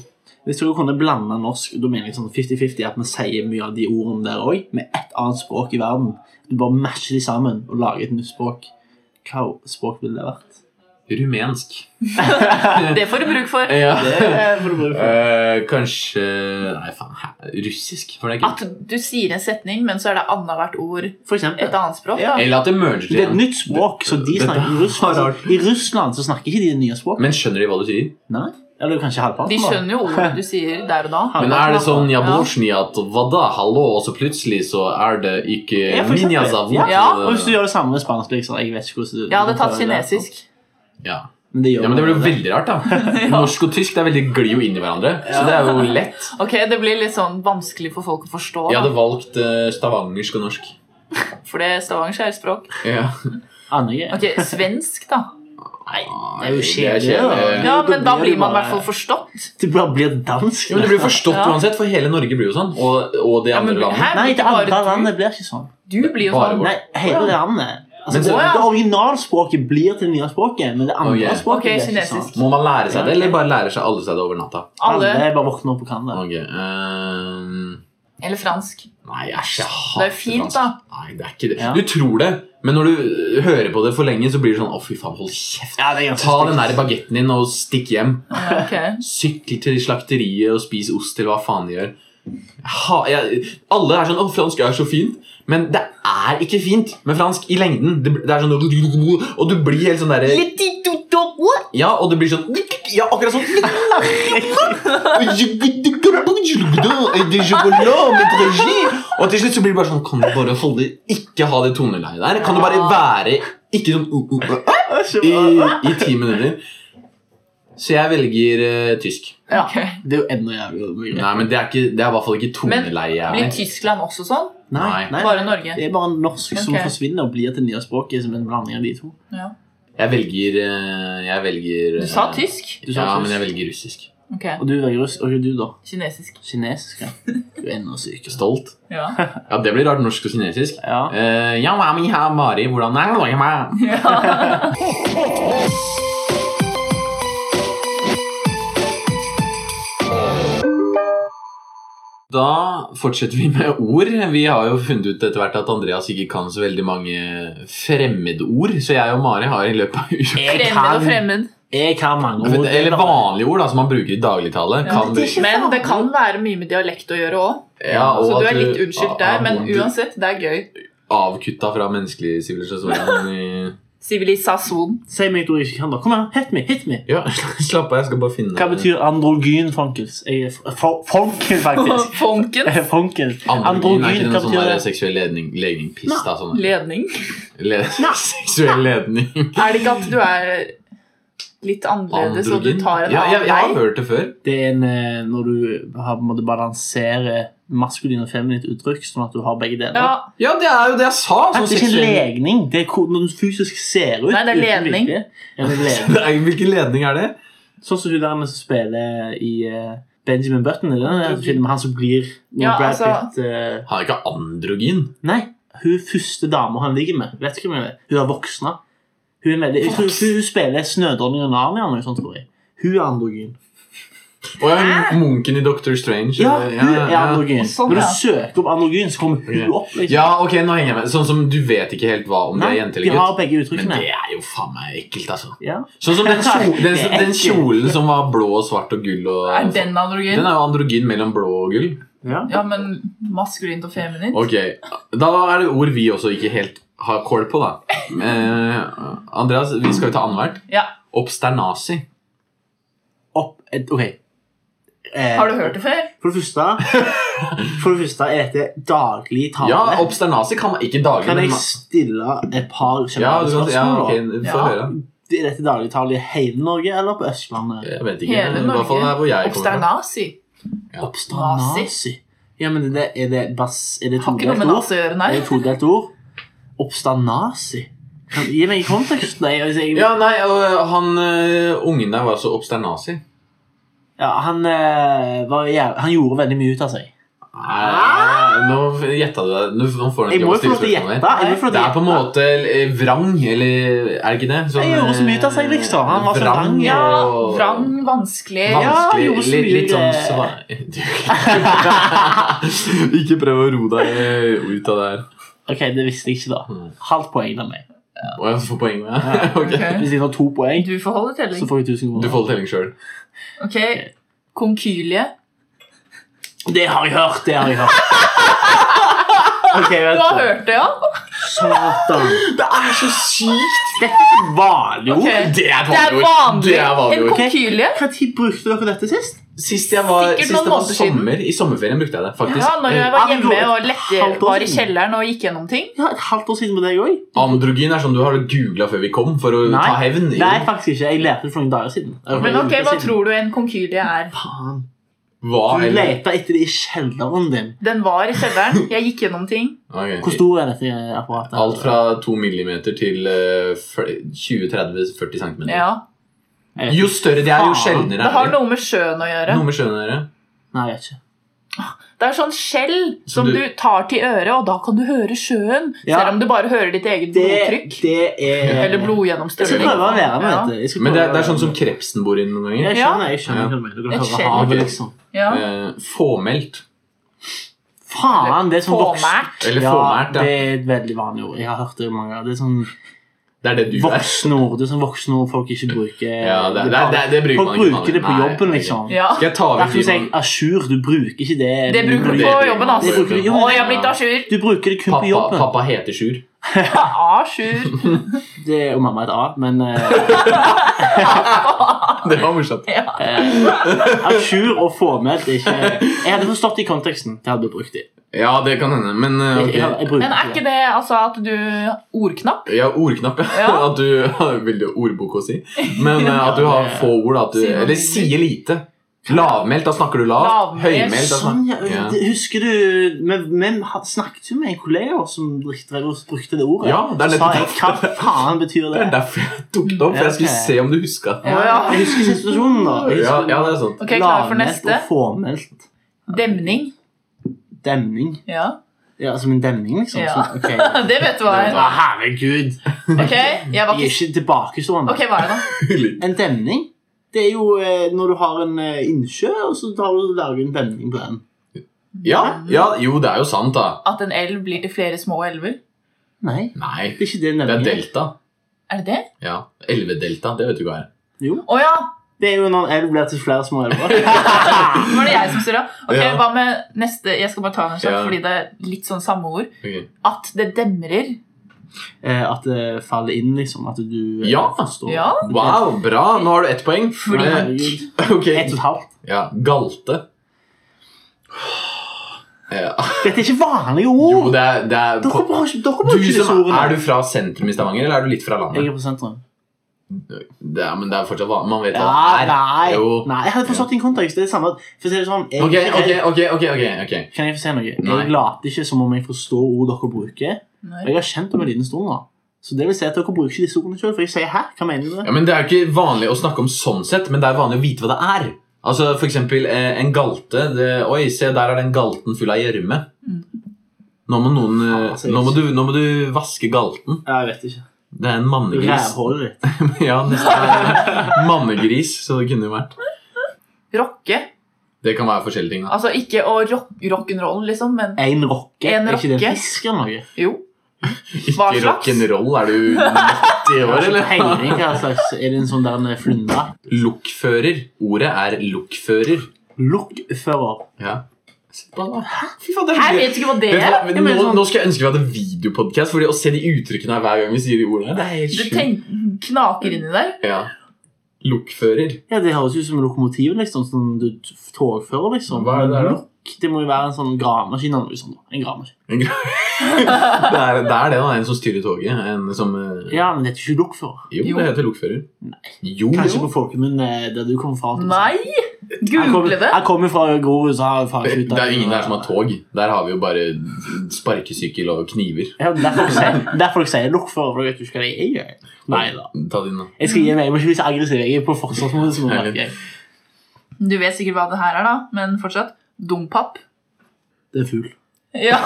Speaker 2: Hvis dere kunne blande norsk da mener jeg sånn 50-50 at vi sier mye av de ordene der òg, med ett annet språk i verden Du bare matcher de sammen og lager et nytt språk. Hva språk ville det vært?
Speaker 1: Rumensk.
Speaker 3: Det får du bruk for.
Speaker 1: Ja.
Speaker 2: får du bruke
Speaker 1: Eh, kanskje Nei, faen. hæ? Russisk? For det er
Speaker 3: At du sier en setning, men så er det annethvert ord
Speaker 2: For
Speaker 3: et
Speaker 2: eksempel.
Speaker 3: annet språk.
Speaker 2: Ja.
Speaker 3: da.
Speaker 1: ikke Eller at det merger
Speaker 2: Det er et
Speaker 1: igjen.
Speaker 2: nytt språk, så de
Speaker 1: Dette
Speaker 2: snakker i
Speaker 1: var
Speaker 2: Russland.
Speaker 1: rart.
Speaker 2: I Russland så snakker ikke de det nye språk.
Speaker 1: Men skjønner de hva du sier?
Speaker 2: Nei? Eller kanskje halvparten.
Speaker 3: De
Speaker 2: da.
Speaker 3: skjønner jo ordet du sier der og da.
Speaker 1: Men er det sånn
Speaker 3: Ja.
Speaker 1: jablosjni at hva da, hallo, og så plutselig så er det ikke
Speaker 2: Ja, for eksempel.
Speaker 1: minjazavot?
Speaker 2: Ja.
Speaker 3: Ja.
Speaker 2: Og hvis du gjør det samme med spansk, liksom Jeg vet ikke hvordan du
Speaker 3: Jeg hadde tatt kinesisk.
Speaker 1: Ja.
Speaker 2: Men det, gjør
Speaker 1: ja, men det blir jo
Speaker 2: man aldri.
Speaker 1: veldig rart, da. Norsk og tysk det er veldig glir jo inn i hverandre. Så det er jo lett.
Speaker 3: Ok, Det blir litt sånn vanskelig for folk å forstå.
Speaker 1: Jeg hadde
Speaker 3: Da.
Speaker 1: valgt eh, stavangersk og norsk.
Speaker 3: For det er stavangersk er et språk.
Speaker 1: Ja.
Speaker 2: Andre greier.
Speaker 3: Ok, Svensk, da.
Speaker 2: Nei, det er
Speaker 1: Det
Speaker 2: jo
Speaker 1: er
Speaker 2: kjedelig.
Speaker 1: kjedelig.
Speaker 3: Ja, Men da
Speaker 2: det
Speaker 3: blir man i
Speaker 2: bare-
Speaker 3: hvert fall forstått.
Speaker 2: Det bare blir dansk.
Speaker 1: Jo, men Det blir forstått
Speaker 3: Ja.
Speaker 1: uansett, for hele Norge blir jo sånn. Og, og de
Speaker 3: Ja,
Speaker 1: andre
Speaker 3: men
Speaker 1: landene.
Speaker 3: her
Speaker 2: Nei,
Speaker 3: blir
Speaker 2: det
Speaker 3: det
Speaker 2: andre
Speaker 3: bare du.
Speaker 2: landet blir ikke sånn.
Speaker 3: Du blir jo
Speaker 1: Bare vår.
Speaker 3: sånn.
Speaker 2: Nei, hele landet. Altså,
Speaker 1: Men
Speaker 2: det,
Speaker 1: så-
Speaker 2: det originalspråket blir til det nye språket, men det andre
Speaker 1: Oh, yeah.
Speaker 2: språket
Speaker 3: Ok,
Speaker 2: blir ikke
Speaker 3: kinesisk.
Speaker 2: sånn.
Speaker 1: Må man lære seg det, eller bare lærer seg alle seg det over natta?
Speaker 2: Alle
Speaker 3: Alle.
Speaker 2: bare våkner opp og kan det.
Speaker 1: Ok, ehm,
Speaker 3: Eller fransk.
Speaker 1: nei, æsj, jeg
Speaker 3: Det er
Speaker 1: hater
Speaker 3: jo fint,
Speaker 1: fransk.
Speaker 3: da.
Speaker 1: Nei, det er ikke det.
Speaker 2: Ja.
Speaker 1: Du tror det, men når du hører på det for lenge, så blir det sånn å, fy faen, hold kjeft.
Speaker 2: Ja, det er ganske
Speaker 1: Ta
Speaker 2: stygt.
Speaker 1: den der bagetten din og stikk hjem.
Speaker 3: Ja, ok.
Speaker 1: Sykkel til slakteriet og spis ost til hva faen de gjør. Ha, jeg, alle er sånn 'Å, fransk er så fint', men det er ikke fint med fransk i lengden. Det, det er sånn Og du blir helt sånn derre
Speaker 3: Litt i do- do- what?
Speaker 1: Ja, og det blir sånn Ja, akkurat sånn Og til slutt så blir det bare sånn Kan du bare holde Ikke ha det toneleiet der? Kan du bare være ikke sånn uh, uh, uh, i, i ti minutter? Så jeg velger eh, tysk.
Speaker 2: Ja.
Speaker 3: Ok.
Speaker 2: Det er jo enda jævligere. begrep.
Speaker 1: Nei, men det er, ikke, det er i hvert fall ikke toneleie. jeg
Speaker 3: Blir
Speaker 1: er.
Speaker 3: Tyskland også sånn?
Speaker 2: Nei,
Speaker 1: Nei.
Speaker 2: nei.
Speaker 3: Bare Norge?
Speaker 2: Det er bare norsk som
Speaker 3: Ok.
Speaker 2: forsvinner og blir til det nye språket som en blanding av de to.
Speaker 3: Ja.
Speaker 1: Jeg velger eh, Jeg velger
Speaker 3: Du sa
Speaker 1: eh,
Speaker 3: tysk?
Speaker 2: Du
Speaker 1: ja,
Speaker 2: sa tysk.
Speaker 1: men jeg velger russisk.
Speaker 3: Ok.
Speaker 2: Og du velger russ. Og du, da?
Speaker 3: Kinesisk.
Speaker 2: Kinesisk? Ja. Du er enda sykere.
Speaker 1: Stolt.
Speaker 3: Ja.
Speaker 1: Ja, det blir rart norsk og kinesisk.
Speaker 2: Ja.
Speaker 1: Eh, ja, mamma, ja, Mari, hvordan er det? mamma? Da fortsetter vi med ord. Vi har jo funnet ut etter hvert at Andreas ikke kan så veldig mange fremmedord, så jeg og Mari har i løpet av uka
Speaker 2: Jeg
Speaker 3: Fremmed og
Speaker 2: kan,
Speaker 3: fremmed.
Speaker 2: jeg kan mange ord.
Speaker 1: Eller vanlige ord da, som man bruker i dagligtale.
Speaker 3: Ja.
Speaker 1: Kan vi-
Speaker 3: Men det kan være mye med dialekt å gjøre òg.
Speaker 1: Ja, og
Speaker 3: Så du
Speaker 1: at
Speaker 3: er litt unnskyldt
Speaker 1: ja,
Speaker 3: der, men
Speaker 1: du-
Speaker 3: uansett, det er gøy.
Speaker 1: Avkutta fra menneskelig sivilisasjon. i-
Speaker 3: Sivilisasjon.
Speaker 2: Si meg et ord jeg ikke kan, da. Kom her, hit me, hit me.
Speaker 1: Ja, slapp av, jeg skal bare finne
Speaker 2: Hva betyr androgyn, folkens? Jeg er f- f- Folken, faktisk.
Speaker 3: Fonken.
Speaker 2: Jeg er Folken.
Speaker 1: Androgyn er ikke noe
Speaker 2: Androgyn, hva
Speaker 1: sånn
Speaker 2: betyr
Speaker 1: der
Speaker 2: det?
Speaker 1: seksuell ledning, legning, piss, da. Sånn.
Speaker 3: Ledning.
Speaker 1: Le seksuell ledning.
Speaker 3: Er det ikke at du er litt annerledes, og du
Speaker 1: Androgyn.
Speaker 3: tar en
Speaker 1: ja, jeg, jeg har
Speaker 3: annen vei?
Speaker 1: hørt det før.
Speaker 2: Det er en, eh, når du har, på en måte balanserer maskulin og feminint uttrykk, sånn at du har begge deler.
Speaker 3: Ja,
Speaker 1: Ja, det er jo det jeg sa. Sånn
Speaker 2: Nei, det er ikke
Speaker 1: seksuell
Speaker 2: legning. Det er hvordan du fysisk ser ut.
Speaker 3: Nei, det er
Speaker 2: uten
Speaker 3: ledning.
Speaker 2: bilde. Ja, det er ledning.
Speaker 1: Nei, Hvilken ledning er det?
Speaker 2: Sånn som hun der med som spiller i eh, Benjamin Button. Er det den der filmen han som blir når
Speaker 3: Ja,
Speaker 2: Brad
Speaker 3: altså-
Speaker 2: Pitt eh,
Speaker 1: Han er ikke androgyn.
Speaker 2: Nei, hun første dama han ligger med. Vet ikke hvem det er. Hun har voksna. Hun, er veldig, jeg tror, hun, hun spiller Snødronningen av Narnia eller noe sånt, tror jeg. Hun er androgyn.
Speaker 1: Og jeg er munken i Doctor Strange.
Speaker 2: Ja,
Speaker 1: eller-
Speaker 2: hun er androgyn.
Speaker 3: Sånn,
Speaker 2: Når du
Speaker 3: ja.
Speaker 2: søker opp androgyn, så kommer hun opp. Liksom.
Speaker 1: Ja, ok, nå henger jeg med. Sånn som du vet ikke helt hva om det
Speaker 2: Nei,
Speaker 1: er jente
Speaker 2: de
Speaker 1: eller
Speaker 2: har
Speaker 1: gutt.
Speaker 2: begge
Speaker 1: Men
Speaker 2: uttrykkene.
Speaker 1: det er jo faen meg ekkelt, altså.
Speaker 2: Ja.
Speaker 1: Sånn som den, kjo- den,
Speaker 2: Det er
Speaker 1: den
Speaker 2: ekkelt.
Speaker 1: kjolen som var blå og svart og gull og
Speaker 3: er den
Speaker 1: Den
Speaker 3: androgyn?
Speaker 1: er jo androgyn mellom blå og gull.
Speaker 2: Ja.
Speaker 3: Ja, men maskulint og feminint?
Speaker 1: Ok, Da er det ord vi også ikke helt har kål på, da. Eh, Andreas, vi skal jo ta annethvert.
Speaker 3: Ja.
Speaker 1: Obsternasi.
Speaker 2: Opp, et, ok. Eh,
Speaker 3: Har du hørt det før?
Speaker 2: For det første, for det første er dette daglig tale.
Speaker 1: Ja, obsternasi kan man ikke daglig.
Speaker 2: Kan
Speaker 1: men
Speaker 2: jeg
Speaker 1: man-
Speaker 2: stille et par
Speaker 1: ja,
Speaker 2: generelle
Speaker 1: du kan, ja,
Speaker 2: spørsmål?
Speaker 1: ok,
Speaker 2: da?
Speaker 1: få
Speaker 3: Ja.
Speaker 1: høre.
Speaker 2: Er dette dagligtale i hele Norge eller på Østlandet?
Speaker 1: Jeg vet ikke.
Speaker 3: Hele
Speaker 1: men I hvert fall
Speaker 3: Norge.
Speaker 1: der hvor jeg kommer fra.
Speaker 3: Obsternasi.
Speaker 1: Ja.
Speaker 2: Oppstandasi. Ja, men er det, er det, bas, er det
Speaker 3: Har ikke noe
Speaker 2: todelt
Speaker 3: med
Speaker 2: ord?
Speaker 3: nase å gjøre,
Speaker 2: Er
Speaker 3: nei.
Speaker 2: det todelt ord? Oppstandasi? Kan- Gi meg kontekst. Nei, altså, jeg,
Speaker 1: Ja, nei, og eh, han øh, ungen der var også obsternasi.
Speaker 2: ja, han, eh, var, jæv- han gjorde veldig mye ut av seg.
Speaker 1: Nei, Nå gjetta du deg. Nå nå får du
Speaker 2: Jeg
Speaker 1: ikke
Speaker 2: må
Speaker 1: lov
Speaker 2: jo få lov til å
Speaker 1: spørsmål
Speaker 2: gjette.
Speaker 1: mer.
Speaker 2: Jeg må få lov
Speaker 1: Det
Speaker 2: til å
Speaker 1: er på en
Speaker 2: gjette.
Speaker 1: måte eh, vrang, eller er det ikke det?
Speaker 2: Jeg gjorde så mye ut av seg, liksom. Han var så vrang,
Speaker 3: Ja,
Speaker 1: og-
Speaker 3: vrang, vanskelig.
Speaker 2: Ja,
Speaker 1: Vanskelig,
Speaker 2: jo, så
Speaker 1: litt,
Speaker 2: mye
Speaker 1: litt sånn svar Ikke prøv å ro deg ut av det her.
Speaker 2: Ok, det visste jeg ikke da.
Speaker 1: Mm.
Speaker 2: Halvt poeng da meg.
Speaker 1: Og jeg får poeng med det. Ok.
Speaker 3: Ok.
Speaker 2: Hvis jeg får to poeng,
Speaker 3: Du får holde
Speaker 2: så
Speaker 3: telling.
Speaker 2: får jeg 1000
Speaker 1: Du
Speaker 2: kroner.
Speaker 1: får telling sjøl.
Speaker 3: Ok. Konkylie.
Speaker 2: Det har jeg hørt, det har jeg hørt. Ok,
Speaker 3: Du
Speaker 2: vent
Speaker 3: har
Speaker 2: da.
Speaker 3: hørt det, ja?
Speaker 2: Satan.
Speaker 1: Det er så sykt!
Speaker 2: Vanlig ord.
Speaker 3: Ok.
Speaker 1: Det er
Speaker 3: Det er
Speaker 1: vanlig ord.
Speaker 3: vanlig.
Speaker 1: Det er vanlig
Speaker 3: En
Speaker 1: ord.
Speaker 3: konkylie.
Speaker 2: Når brukte dere dette sist?
Speaker 1: Sist jeg var,
Speaker 3: Sikkert
Speaker 1: sist
Speaker 3: noen
Speaker 1: det var
Speaker 3: måneder siden.
Speaker 1: sommer, i sommerferien brukte jeg det. faktisk
Speaker 3: Ja, når jeg
Speaker 2: Ja,
Speaker 3: var
Speaker 2: men
Speaker 3: hjemme
Speaker 2: jo,
Speaker 3: og lette
Speaker 2: halvt år
Speaker 3: var i
Speaker 2: siden.
Speaker 3: kjelleren og gikk gjennom ting.
Speaker 2: Ja, et halvt år siden med deg òg.
Speaker 1: Androgyn er sånn du har googla før vi kom for å
Speaker 2: Nei.
Speaker 1: ta hevn.
Speaker 2: Nei, faktisk ikke. Jeg lette det for noen dager siden.
Speaker 3: Men ok, hva tror du en konkylie er?
Speaker 2: Faen.
Speaker 1: Hva
Speaker 2: Du
Speaker 1: eller
Speaker 2: leta etter det i kjelleren din.
Speaker 3: Den var i kjelleren. Jeg gikk gjennom ting.
Speaker 1: Ok.
Speaker 2: Hvor stor er dette apparatet?
Speaker 1: Alt fra 2 millimeter til eh, fl- 20-30-40 cm.
Speaker 3: Ja.
Speaker 2: Jeg vet ikke.
Speaker 1: Jo større de er, jo
Speaker 2: Faen.
Speaker 1: sjeldnere
Speaker 3: Det har
Speaker 1: er de.
Speaker 3: noe med sjøen å gjøre.
Speaker 1: Noe med skjønnet å gjøre.
Speaker 2: Nei, jeg vet ikke.
Speaker 3: Det er sånn skjell
Speaker 1: Som
Speaker 3: som du,
Speaker 1: du-
Speaker 3: tar til øret, og da kan du høre sjøen.
Speaker 2: Ja.
Speaker 3: Selv om du bare hører ditt eget
Speaker 2: Det,
Speaker 3: blodtrykk.
Speaker 2: det er
Speaker 3: Eller
Speaker 2: Jeg skal
Speaker 3: blodgjennomstrømning.
Speaker 2: prøve å være med
Speaker 3: Ja.
Speaker 2: dette. Jeg skal
Speaker 1: Men det er,
Speaker 2: prøve å
Speaker 1: det er sånn
Speaker 2: være
Speaker 1: som
Speaker 2: med.
Speaker 1: krepsen bor inn noen ganger.
Speaker 2: Jeg skjønner, jeg skjønner.
Speaker 1: Ja.
Speaker 2: hva du mener. Du
Speaker 3: Et
Speaker 2: kan høre
Speaker 3: skjell.
Speaker 2: havet, liksom.
Speaker 3: Ja.
Speaker 1: Eh, fåmælt.
Speaker 2: Faen, det er sånn voksen...
Speaker 3: Påmært.
Speaker 1: Eller
Speaker 2: Ja,
Speaker 1: fåmælt,
Speaker 2: det
Speaker 1: ja.
Speaker 2: er et veldig vanlig ord. Jeg har hørt det mange ganger. Det er sånn
Speaker 1: Det er det du er.
Speaker 2: Voksnord. Det er sånn voksenord folk ikke bruker.
Speaker 1: Ja, det, det, det, det bruker
Speaker 2: folk
Speaker 1: man ikke
Speaker 2: bruker det på
Speaker 1: vanlig. Nei,
Speaker 2: jobben,
Speaker 1: nei,
Speaker 2: liksom.
Speaker 3: Ja.
Speaker 1: Skal jeg ta liksom
Speaker 2: Derfor
Speaker 1: over
Speaker 2: sier jeg
Speaker 1: Simon?
Speaker 2: à jour. Du bruker ikke det.
Speaker 3: Det bruker du
Speaker 1: Det
Speaker 3: på
Speaker 1: bruker
Speaker 3: jobben,
Speaker 1: man
Speaker 3: altså.
Speaker 2: på jobben.
Speaker 3: Å, jeg har blitt à jour.
Speaker 2: Du bruker det kun på
Speaker 1: Pappa,
Speaker 2: jobben.
Speaker 1: pappa heter Sjur.
Speaker 3: À jour.
Speaker 2: Det, og mamma er et A, men eh,
Speaker 1: Det var morsomt.
Speaker 2: eh, à jour og fåmælt er ikke Jeg hadde forstått det i konteksten. Det hadde blitt brukt i.
Speaker 1: Ja, det kan hende, men eh,
Speaker 2: Jeg,
Speaker 1: ok.
Speaker 2: jeg, jeg, bruker
Speaker 3: Men er
Speaker 2: det.
Speaker 3: ikke det altså at du Ordknapp?
Speaker 1: Ja, ordknapp, ja.
Speaker 3: Ja.
Speaker 1: At du Vil du ordbok å si? Men eh, at du har få ord. da, At du,
Speaker 3: Sier man
Speaker 1: eller
Speaker 3: mye.
Speaker 1: sier lite. Lavmælt, da snakker du lavt.
Speaker 3: Lavmælt,
Speaker 1: Høymælt, da snakker
Speaker 2: Sånn, ja,
Speaker 1: Ja.
Speaker 2: det- Husker du Vi, vi snakket jo med en kollega som drev og brukte det ordet.
Speaker 1: Ja, det er
Speaker 2: så sa jeg
Speaker 1: nettopp-
Speaker 2: hva faen betyr
Speaker 1: Det
Speaker 2: det?
Speaker 1: er derfor jeg tok det opp, for jeg skulle
Speaker 2: Ja, ok.
Speaker 1: se om du huska.
Speaker 3: Å, ja.
Speaker 2: Jeg husker situasjonen, da. Jeg
Speaker 1: Ja,
Speaker 2: husker
Speaker 1: ja, det er sant.
Speaker 3: Ok, klar for
Speaker 2: lavmælt
Speaker 3: neste?
Speaker 2: og formelt
Speaker 3: Demning.
Speaker 2: demning.
Speaker 3: Ja.
Speaker 2: Ja, Som en demning, liksom.
Speaker 3: Ja.
Speaker 2: Sånn, ok.
Speaker 3: Det vet du hva
Speaker 2: Å,
Speaker 3: er.
Speaker 2: herregud!
Speaker 3: Ok, jeg var
Speaker 2: Vi er
Speaker 3: ikke
Speaker 2: ikke tilbakestående.
Speaker 3: Ok, hva er det da?
Speaker 2: En demning det er jo eh, når du har en eh, innsjø, og så tar du og lager en demning på den.
Speaker 1: Ja, ja, jo, det er jo sant, da.
Speaker 3: At en elv blir til flere små elver?
Speaker 2: Nei,
Speaker 1: Nei,
Speaker 2: det er ikke det en
Speaker 1: det er
Speaker 2: demning er.
Speaker 1: delta.
Speaker 3: Er det det?
Speaker 1: Ja, Elvedelta. Det vet du hva er.
Speaker 2: Jo,
Speaker 3: Å ja!
Speaker 2: det er jo når en elv blir til flere små elver.
Speaker 3: Nå var det jeg som surra. Ok,
Speaker 1: Ja.
Speaker 3: Hva med neste? Jeg skal bare ta den kjapt,
Speaker 1: Ja.
Speaker 3: fordi det er litt sånn samme ord.
Speaker 1: Ok.
Speaker 3: At det demrer.
Speaker 2: Eh, at det faller inn, liksom. At du eh,
Speaker 1: Ja.
Speaker 2: forstår.
Speaker 3: Ja.
Speaker 1: Wow, bra! Nå har du ett poeng.
Speaker 2: Nei,
Speaker 1: Eh,
Speaker 2: herregud.
Speaker 1: Ok.
Speaker 2: Ett og et halvt.
Speaker 1: Ja, Galte. Ja.
Speaker 2: Dette er ikke vanlige
Speaker 1: Jo,
Speaker 2: ord!
Speaker 1: det er, det er
Speaker 2: Dere
Speaker 1: på,
Speaker 2: bruker ikke dere
Speaker 1: du
Speaker 2: bruker ikke disse
Speaker 1: som er,
Speaker 2: ordene.
Speaker 1: er du fra sentrum i Stavanger, eller er du litt fra
Speaker 2: Jeg
Speaker 1: landet?
Speaker 2: er på sentrum.
Speaker 1: Det er, men det er fortsatt vanlig. Man vet
Speaker 2: Ja,
Speaker 1: hva det er.
Speaker 2: nei.
Speaker 1: Jo.
Speaker 2: nei, jeg hadde forstått din kontekst. Det er det samme. For å si det sånn, jeg,
Speaker 1: Ok,
Speaker 2: er ikke
Speaker 1: ok,
Speaker 2: redd-
Speaker 1: ok. ok, ok, ok
Speaker 2: Kan jeg få si noe?
Speaker 1: Nei.
Speaker 2: Jeg later ikke som om jeg forstår ord dere bruker. Og
Speaker 3: Nei.
Speaker 2: jeg har kjent dem en liten stund nå. Så det vil si at dere bruker ikke disse ordene selv For jeg sier 'hæ', hva mener du? med
Speaker 1: Ja, men Det er jo ikke vanlig å snakke om sånn sett, men det er vanlig å vite hva det er. Altså for eksempel, eh, En galte det, Oi, se, der er den galten full av gjørme.
Speaker 3: Mm.
Speaker 1: Nå, må noen, eh,
Speaker 2: Altså,
Speaker 1: nå, må du- nå må du vaske galten.
Speaker 2: det? Ja, jeg vet ikke.
Speaker 1: Det er en mannegris.
Speaker 2: Rævhålet ditt.
Speaker 1: ja, nesten Mannegris, så det kunne jo vært.
Speaker 3: Rocke.
Speaker 1: Det kan være forskjellige ting. da
Speaker 3: Altså ikke å rock, rock'n'roll, liksom, men
Speaker 2: En rocke.
Speaker 3: En
Speaker 2: Er ikke det
Speaker 3: rocke.
Speaker 2: en fisk eller noe?
Speaker 3: jo. Hva
Speaker 1: Ikke
Speaker 3: slags?
Speaker 1: rock'n'roll, er du 90 år,
Speaker 2: Jeg har ikke
Speaker 1: eller?
Speaker 2: peiling hva slags Er det en sånn der en flundre?
Speaker 1: Lokfører. Ordet er lokfører.
Speaker 2: Lokfører.
Speaker 1: Ja. Se på han, da. Fy faen, det
Speaker 3: Her
Speaker 1: er
Speaker 3: vet du ikke hva det
Speaker 1: Vet du
Speaker 3: er.
Speaker 1: hva, men
Speaker 2: Jeg mener
Speaker 1: nå,
Speaker 2: sånn-
Speaker 1: nå skal jeg ønske vi hadde videopodkast, Fordi å se de uttrykkene her hver gang vi sier de ordene Det er helt
Speaker 3: Du
Speaker 1: sjukt.
Speaker 3: tenk, knaker inni der.
Speaker 1: Ja. Lokfører.
Speaker 2: Ja, det høres ut som lokomotiv, liksom. Sånn du t- togfører, liksom.
Speaker 1: Hva er det der, da?
Speaker 2: Lokk. Det må jo være en sånn gravemaskin eller noe sånt. da. En gravemaskin.
Speaker 1: Det er det, er det da, en som styrer toget. En som eh,
Speaker 2: Ja, men det er ikke lokfører.
Speaker 1: Jo,
Speaker 3: Jo.
Speaker 1: det heter lokfører. Jo,
Speaker 2: Kanskje
Speaker 1: jo.
Speaker 2: på folkemunne der du kommer fra. liksom.
Speaker 3: Nei!
Speaker 2: Jeg kommer-
Speaker 3: Google det.
Speaker 2: Jeg kommer fra Grorud, så har jeg faen
Speaker 1: Eh, Det,
Speaker 2: ikke
Speaker 1: det er jo ingen der som har tog. Der har vi jo bare sparkesykkel og kniver.
Speaker 2: Ja, derfor jeg sier- derfor jeg sier lokfører, for jeg vet jo ikke hva det er. Nei da.
Speaker 1: Ta din, da.
Speaker 2: Jeg skal gi meg, jeg må ikke bli så aggressiv. Jeg er på forsvarsmodus. nå, merker jeg.
Speaker 3: Du vet sikkert hva det her er, da, men fortsatt. Dompap.
Speaker 2: Det er en fugl.
Speaker 3: Ja.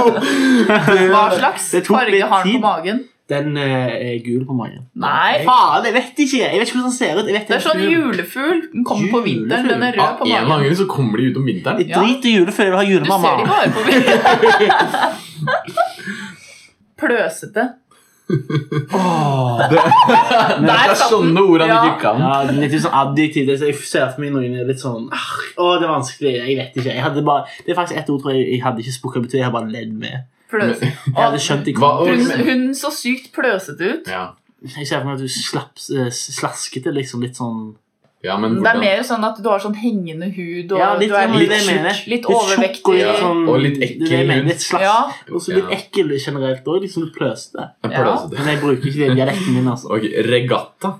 Speaker 3: Hva slags
Speaker 2: Det tok
Speaker 3: farge
Speaker 2: litt
Speaker 3: har den
Speaker 2: tid.
Speaker 3: på magen?
Speaker 2: Den eh, er gul på magen.
Speaker 3: Nei.
Speaker 2: Faen, jeg vet ikke! Jeg vet ikke hvordan den ser ut. Jeg vet
Speaker 3: Det er sånn julefugl. Den kommer på vinteren. Den er
Speaker 1: Ja,
Speaker 3: rød
Speaker 1: en
Speaker 3: på
Speaker 1: eller annen
Speaker 3: magen.
Speaker 1: gang så kommer de ut om vinteren.
Speaker 2: Jeg
Speaker 3: Ja.
Speaker 2: driter i julefugl, jeg vil ha
Speaker 3: Du ser de
Speaker 2: julemamma.
Speaker 3: bare på vinteren. Pløsete.
Speaker 2: Åh.
Speaker 1: Det er
Speaker 3: satt den.
Speaker 1: sånne ord han
Speaker 3: Ja.
Speaker 1: ikke kan.
Speaker 2: Ja, det er litt sånn adjektiv. Det er så- Jeg ser for meg noen er litt sånn ah, Å, det er vanskelig. Jeg vet ikke. Jeg hadde bare, det er faktisk ett ord tror jeg jeg hadde ikke spukka bety. Jeg hadde bare ledd med.
Speaker 3: Pløsete.
Speaker 2: Jeg hadde skjønt det
Speaker 1: Hva-
Speaker 3: Hun,
Speaker 1: men-
Speaker 3: hun så sykt pløsete ut.
Speaker 1: Ja.
Speaker 2: Jeg ser for meg at du slapp, eh, slaskete, liksom. Litt sånn
Speaker 1: ja, men
Speaker 3: Det er
Speaker 1: hvordan
Speaker 3: mer sånn at du har sånn hengende hud og
Speaker 2: Ja, litt
Speaker 3: du er
Speaker 2: sånn,
Speaker 3: litt,
Speaker 2: det jeg mener.
Speaker 3: tjukk, litt
Speaker 2: tjukk og
Speaker 3: overvektig.
Speaker 2: litt sånn
Speaker 1: Og litt
Speaker 2: det er det jeg
Speaker 1: ekkel.
Speaker 2: mener, Litt slask.
Speaker 3: Ja.
Speaker 2: Og så litt
Speaker 1: Ja.
Speaker 2: ekkel generelt òg. Liksom litt pløsete.
Speaker 1: Jeg
Speaker 3: Ja.
Speaker 1: pløser det.
Speaker 2: Men jeg bruker ikke det i dialekten min, altså.
Speaker 1: Ok, regatta.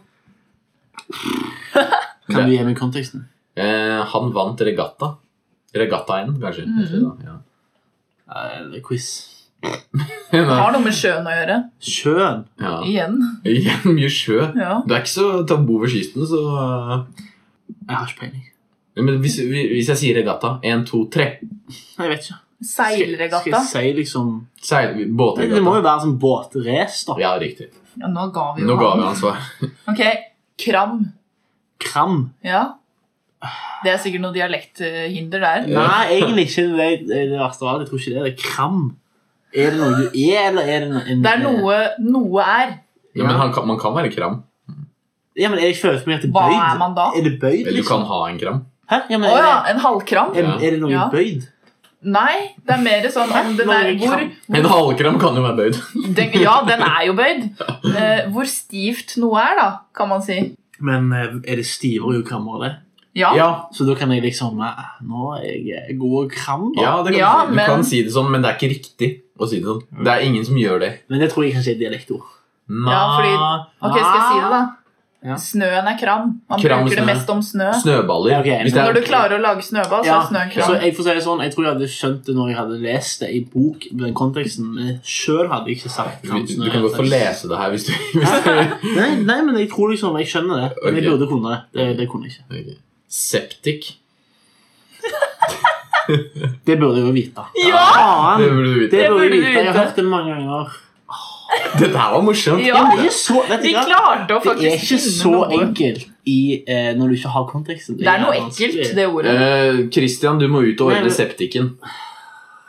Speaker 2: Kan du gi meg konteksten?
Speaker 1: Eh, han vant regatta. Regattaen, kanskje.
Speaker 3: Mhm.
Speaker 1: heter det da, ja.
Speaker 2: Eh, quiz.
Speaker 1: Nei,
Speaker 3: Har noe med sjøen å gjøre.
Speaker 2: Sjøen.
Speaker 1: ja.
Speaker 3: Igjen.
Speaker 1: Igjen mye sjø.
Speaker 3: Ja.
Speaker 1: Du er ikke så tabu ved kysten, så
Speaker 2: Jeg har ikke peiling.
Speaker 1: eh, Men hvis, hvis jeg sier regatta én, to, tre
Speaker 2: Jeg vet ikke. Skal
Speaker 3: Seilregatta.
Speaker 2: jeg si liksom
Speaker 1: Seil,
Speaker 2: Nei, Det må
Speaker 1: Båtregatta.
Speaker 2: jo være sånn båtrace, da.
Speaker 1: Ja, riktig.
Speaker 3: Ja, nå ga vi
Speaker 1: Nå
Speaker 3: jo
Speaker 1: ga vi han
Speaker 3: han.
Speaker 1: svar.
Speaker 3: Ok, Kram.
Speaker 2: Kram.
Speaker 3: Ja. Det er sikkert noe dialekthinder der.
Speaker 1: Ja.
Speaker 2: Nei, egentlig ikke. Det, det verste var at jeg tror ikke det. Det er kram. Er det noe du er, eller er det noe en, eh,
Speaker 3: Det er noe noe er.
Speaker 1: Ja, men han kan, man kan være kram.
Speaker 2: Ja, men jeg føler for meg at det er
Speaker 3: Hva
Speaker 2: bøyd.
Speaker 3: er man da?
Speaker 2: Er det bøyd,
Speaker 1: Eller du
Speaker 2: liksom?
Speaker 1: kan ha en kram.
Speaker 2: Hæ? Ja, men
Speaker 3: Å
Speaker 2: er,
Speaker 3: ja,
Speaker 2: det,
Speaker 3: en halvkram?
Speaker 2: er, er det noe
Speaker 3: Ja.
Speaker 2: bøyd?
Speaker 3: Nei, det er mer sånn om den er hvor,
Speaker 1: En halvkram kan jo være bøyd.
Speaker 3: den, Ja, den er jo bøyd. Eh, hvor stivt noe er, da, kan man si.
Speaker 2: Men eh, er det stivere jo krammer det?
Speaker 3: Ja.
Speaker 1: Ja,
Speaker 2: Så da kan jeg liksom eh, Nå er jeg god og kram, da.
Speaker 1: ja, det kan
Speaker 3: Ja,
Speaker 1: du, si. du
Speaker 3: men-
Speaker 1: kan si det sånn, men det er ikke riktig å si det sånn. Det er ingen som gjør det.
Speaker 2: Men det tror jeg kanskje er et dialektord.
Speaker 1: Nei.
Speaker 3: Ja, fordi- Ok, skal jeg si det, da?
Speaker 2: Ah. Ja.
Speaker 3: Snøen er kram. Man
Speaker 1: Kram,
Speaker 3: bruker
Speaker 1: snø.
Speaker 3: det mest om snø.
Speaker 1: Snøballer.
Speaker 2: Ja, ok,
Speaker 1: Hvis det
Speaker 3: Når
Speaker 1: er,
Speaker 3: du klarer å lage snøball, så
Speaker 2: Ja,
Speaker 3: er
Speaker 2: Så
Speaker 3: snøen kram.
Speaker 2: jeg får si det sånn, jeg tror jeg hadde skjønt det når jeg hadde lest det i bok, med den konteksten, men sjøl hadde jeg ikke sagt Sånn,
Speaker 1: du, du kan godt få lese det her hvis du hvis du-
Speaker 2: Nei, nei, men jeg tror liksom jeg skjønner det. Men jeg
Speaker 1: Ok.
Speaker 2: burde kunne det. Det, det kunne jeg ikke.
Speaker 1: Ok. Septik.
Speaker 2: Det burde jeg jo vite.
Speaker 3: Ja!
Speaker 1: Det
Speaker 2: Faen!
Speaker 1: burde du vite.
Speaker 2: Det burde
Speaker 3: burde
Speaker 2: jeg
Speaker 3: du
Speaker 2: vite. Jeg har
Speaker 3: vite.
Speaker 2: hørt det mange ganger.
Speaker 1: Dette her var morsomt.
Speaker 3: Ja,
Speaker 2: Men det er så, vet du
Speaker 3: Vi
Speaker 2: hva?
Speaker 3: klarte å
Speaker 2: Det er
Speaker 3: faktisk
Speaker 2: ikke
Speaker 3: finne
Speaker 2: så
Speaker 3: noe.
Speaker 2: enkelt i, eh, når du ikke har konteksten.
Speaker 3: Det er noe
Speaker 2: vanskelig.
Speaker 3: ekkelt, det ordet.
Speaker 1: Eh, Christian, du må ut og
Speaker 2: Nei, men-
Speaker 1: ordne septiken.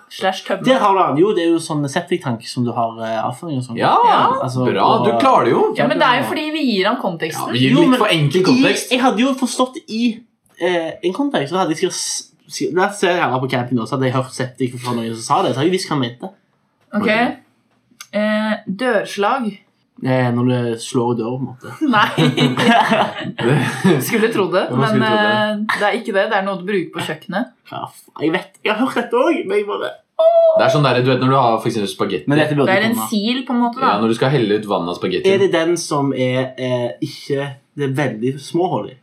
Speaker 3: Slash
Speaker 2: Der
Speaker 3: tømme.
Speaker 2: har du den. Jo, det er jo sånn septiktank som du har eh, avføring og sånn.
Speaker 1: Ja,
Speaker 3: Ja.
Speaker 2: Altså,
Speaker 1: bra.
Speaker 2: på-
Speaker 1: Du klarer det jo.
Speaker 3: Ja, men det er jo fordi vi gir ham
Speaker 1: Ja,
Speaker 3: konteksten.
Speaker 1: vi gir
Speaker 2: Jo,
Speaker 1: litt
Speaker 2: men
Speaker 1: for enkel kontekst.
Speaker 2: I, jeg hadde jo forstått i eh, en kontekst. Så hadde jeg sikkert s- si- La oss se her på camping nå, så hadde jeg hørt septik fra noen som sa det. Så hadde jeg visst hva han mente.
Speaker 3: Ok. Eh, dørslag.
Speaker 2: Eh, når du slår i døra, på en måte.
Speaker 3: Nei, skulle tro det.
Speaker 1: Ja, man skulle tro det.
Speaker 3: Men eh, det er ikke det. Det er noe du bruker på kjøkkenet.
Speaker 2: Ja, faen, jeg vet, jeg har hørt dette òg, men jeg bare
Speaker 1: Det er sånn der, du vet Når du har for eksempel spagetti
Speaker 2: Men dette
Speaker 3: Det
Speaker 2: burde
Speaker 3: er en
Speaker 2: komme.
Speaker 3: sil, på en måte.
Speaker 1: ja,
Speaker 3: da.
Speaker 1: Når du skal helle ut vann av
Speaker 2: Er
Speaker 1: spagettien
Speaker 2: det den som er eh, ikke Det er veldig små hull i?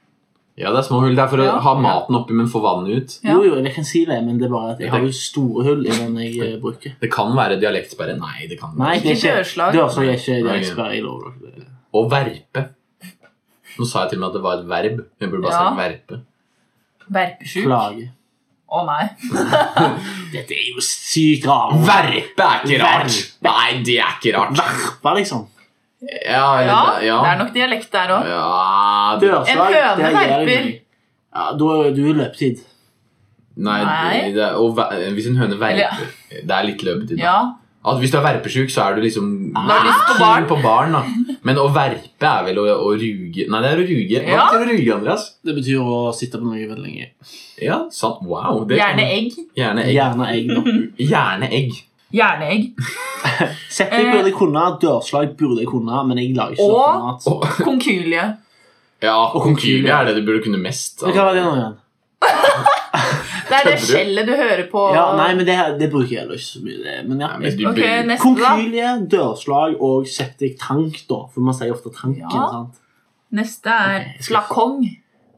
Speaker 1: Ja, det er små hull. Det er for
Speaker 3: Ja.
Speaker 1: å ha maten oppi, men få vannet ut.
Speaker 3: Ja.
Speaker 2: Jo, jo, jeg kan si det, men det er bare at jeg har jo store hull i den jeg eh, bruker.
Speaker 1: Det kan være dialektsperre. Nei, det kan
Speaker 2: Nei,
Speaker 1: være
Speaker 2: det er
Speaker 3: Ikke
Speaker 2: ikke
Speaker 3: dørslag.
Speaker 2: Dørslag er ikke det
Speaker 1: Nei.
Speaker 2: ekspert jeg lover dere.
Speaker 1: Å verpe. Nå sa jeg til og med at det var et verb. Jeg burde bare
Speaker 3: Ja.
Speaker 1: sagt verpe.
Speaker 3: Verpesjuk. Å
Speaker 2: Klage.
Speaker 3: nei.
Speaker 2: Dette er jo sykt rart.
Speaker 1: Verpe er ikke rart!
Speaker 2: Verpe.
Speaker 1: Nei, det er ikke rart.
Speaker 2: Verpa, liksom.
Speaker 1: Ja,
Speaker 3: Ja,
Speaker 1: eller-
Speaker 3: det
Speaker 1: ja.
Speaker 3: er nok dialekt der òg.
Speaker 1: Ja, det-
Speaker 2: Dørslag,
Speaker 3: En høne
Speaker 2: det gjør jeg
Speaker 3: verper.
Speaker 2: meg. Ja, da er du i løpetid.
Speaker 1: Nei,
Speaker 3: Nei.
Speaker 1: Det er, og ver- hvis en høne verper
Speaker 3: Eller-
Speaker 1: Det er litt løpetid. da.
Speaker 3: Ja.
Speaker 1: At hvis du er verpesjuk, så er du liksom
Speaker 3: Da har du lyst på
Speaker 1: keen
Speaker 3: barn.
Speaker 1: på barn da. Men å verpe er vel å, å ruge Nei, det er å ruge. Hva
Speaker 3: Ja.
Speaker 1: betyr å ruge, Andreas?
Speaker 2: Det betyr å sitte på noe veldig lenge.
Speaker 1: Ja, sant. Wow. det kan-
Speaker 3: Gjerne egg.
Speaker 1: Gjerne egg.
Speaker 2: Gjerne egg. da.
Speaker 1: Gjerne egg.
Speaker 3: Gjerne egg.
Speaker 2: Setting
Speaker 3: Eh.
Speaker 2: burde jeg kunne, dørslag burde jeg kunne, men jeg lager ikke
Speaker 3: Og-
Speaker 2: sånn mat.
Speaker 1: Og,
Speaker 3: Konkylie.
Speaker 1: ja,
Speaker 2: Og
Speaker 1: konkylie
Speaker 2: konkylie.
Speaker 1: er det du burde kunne mest.
Speaker 2: Men Hva var det nå igjen?
Speaker 3: Det er det
Speaker 1: Kødder du?
Speaker 3: skjellet du hører på.
Speaker 2: Ja, nei, men det, her- det bruker jeg heller ikke så mye. Det. Men ja.
Speaker 1: Nei, men du
Speaker 3: Ok,
Speaker 1: burde-
Speaker 3: neste, da.
Speaker 2: Konkylie, dørslag og septic tank, da. For man sier ofte tanken.
Speaker 3: Ja.
Speaker 2: sant?
Speaker 3: Neste er
Speaker 2: Ok, jeg skal-
Speaker 3: slakong.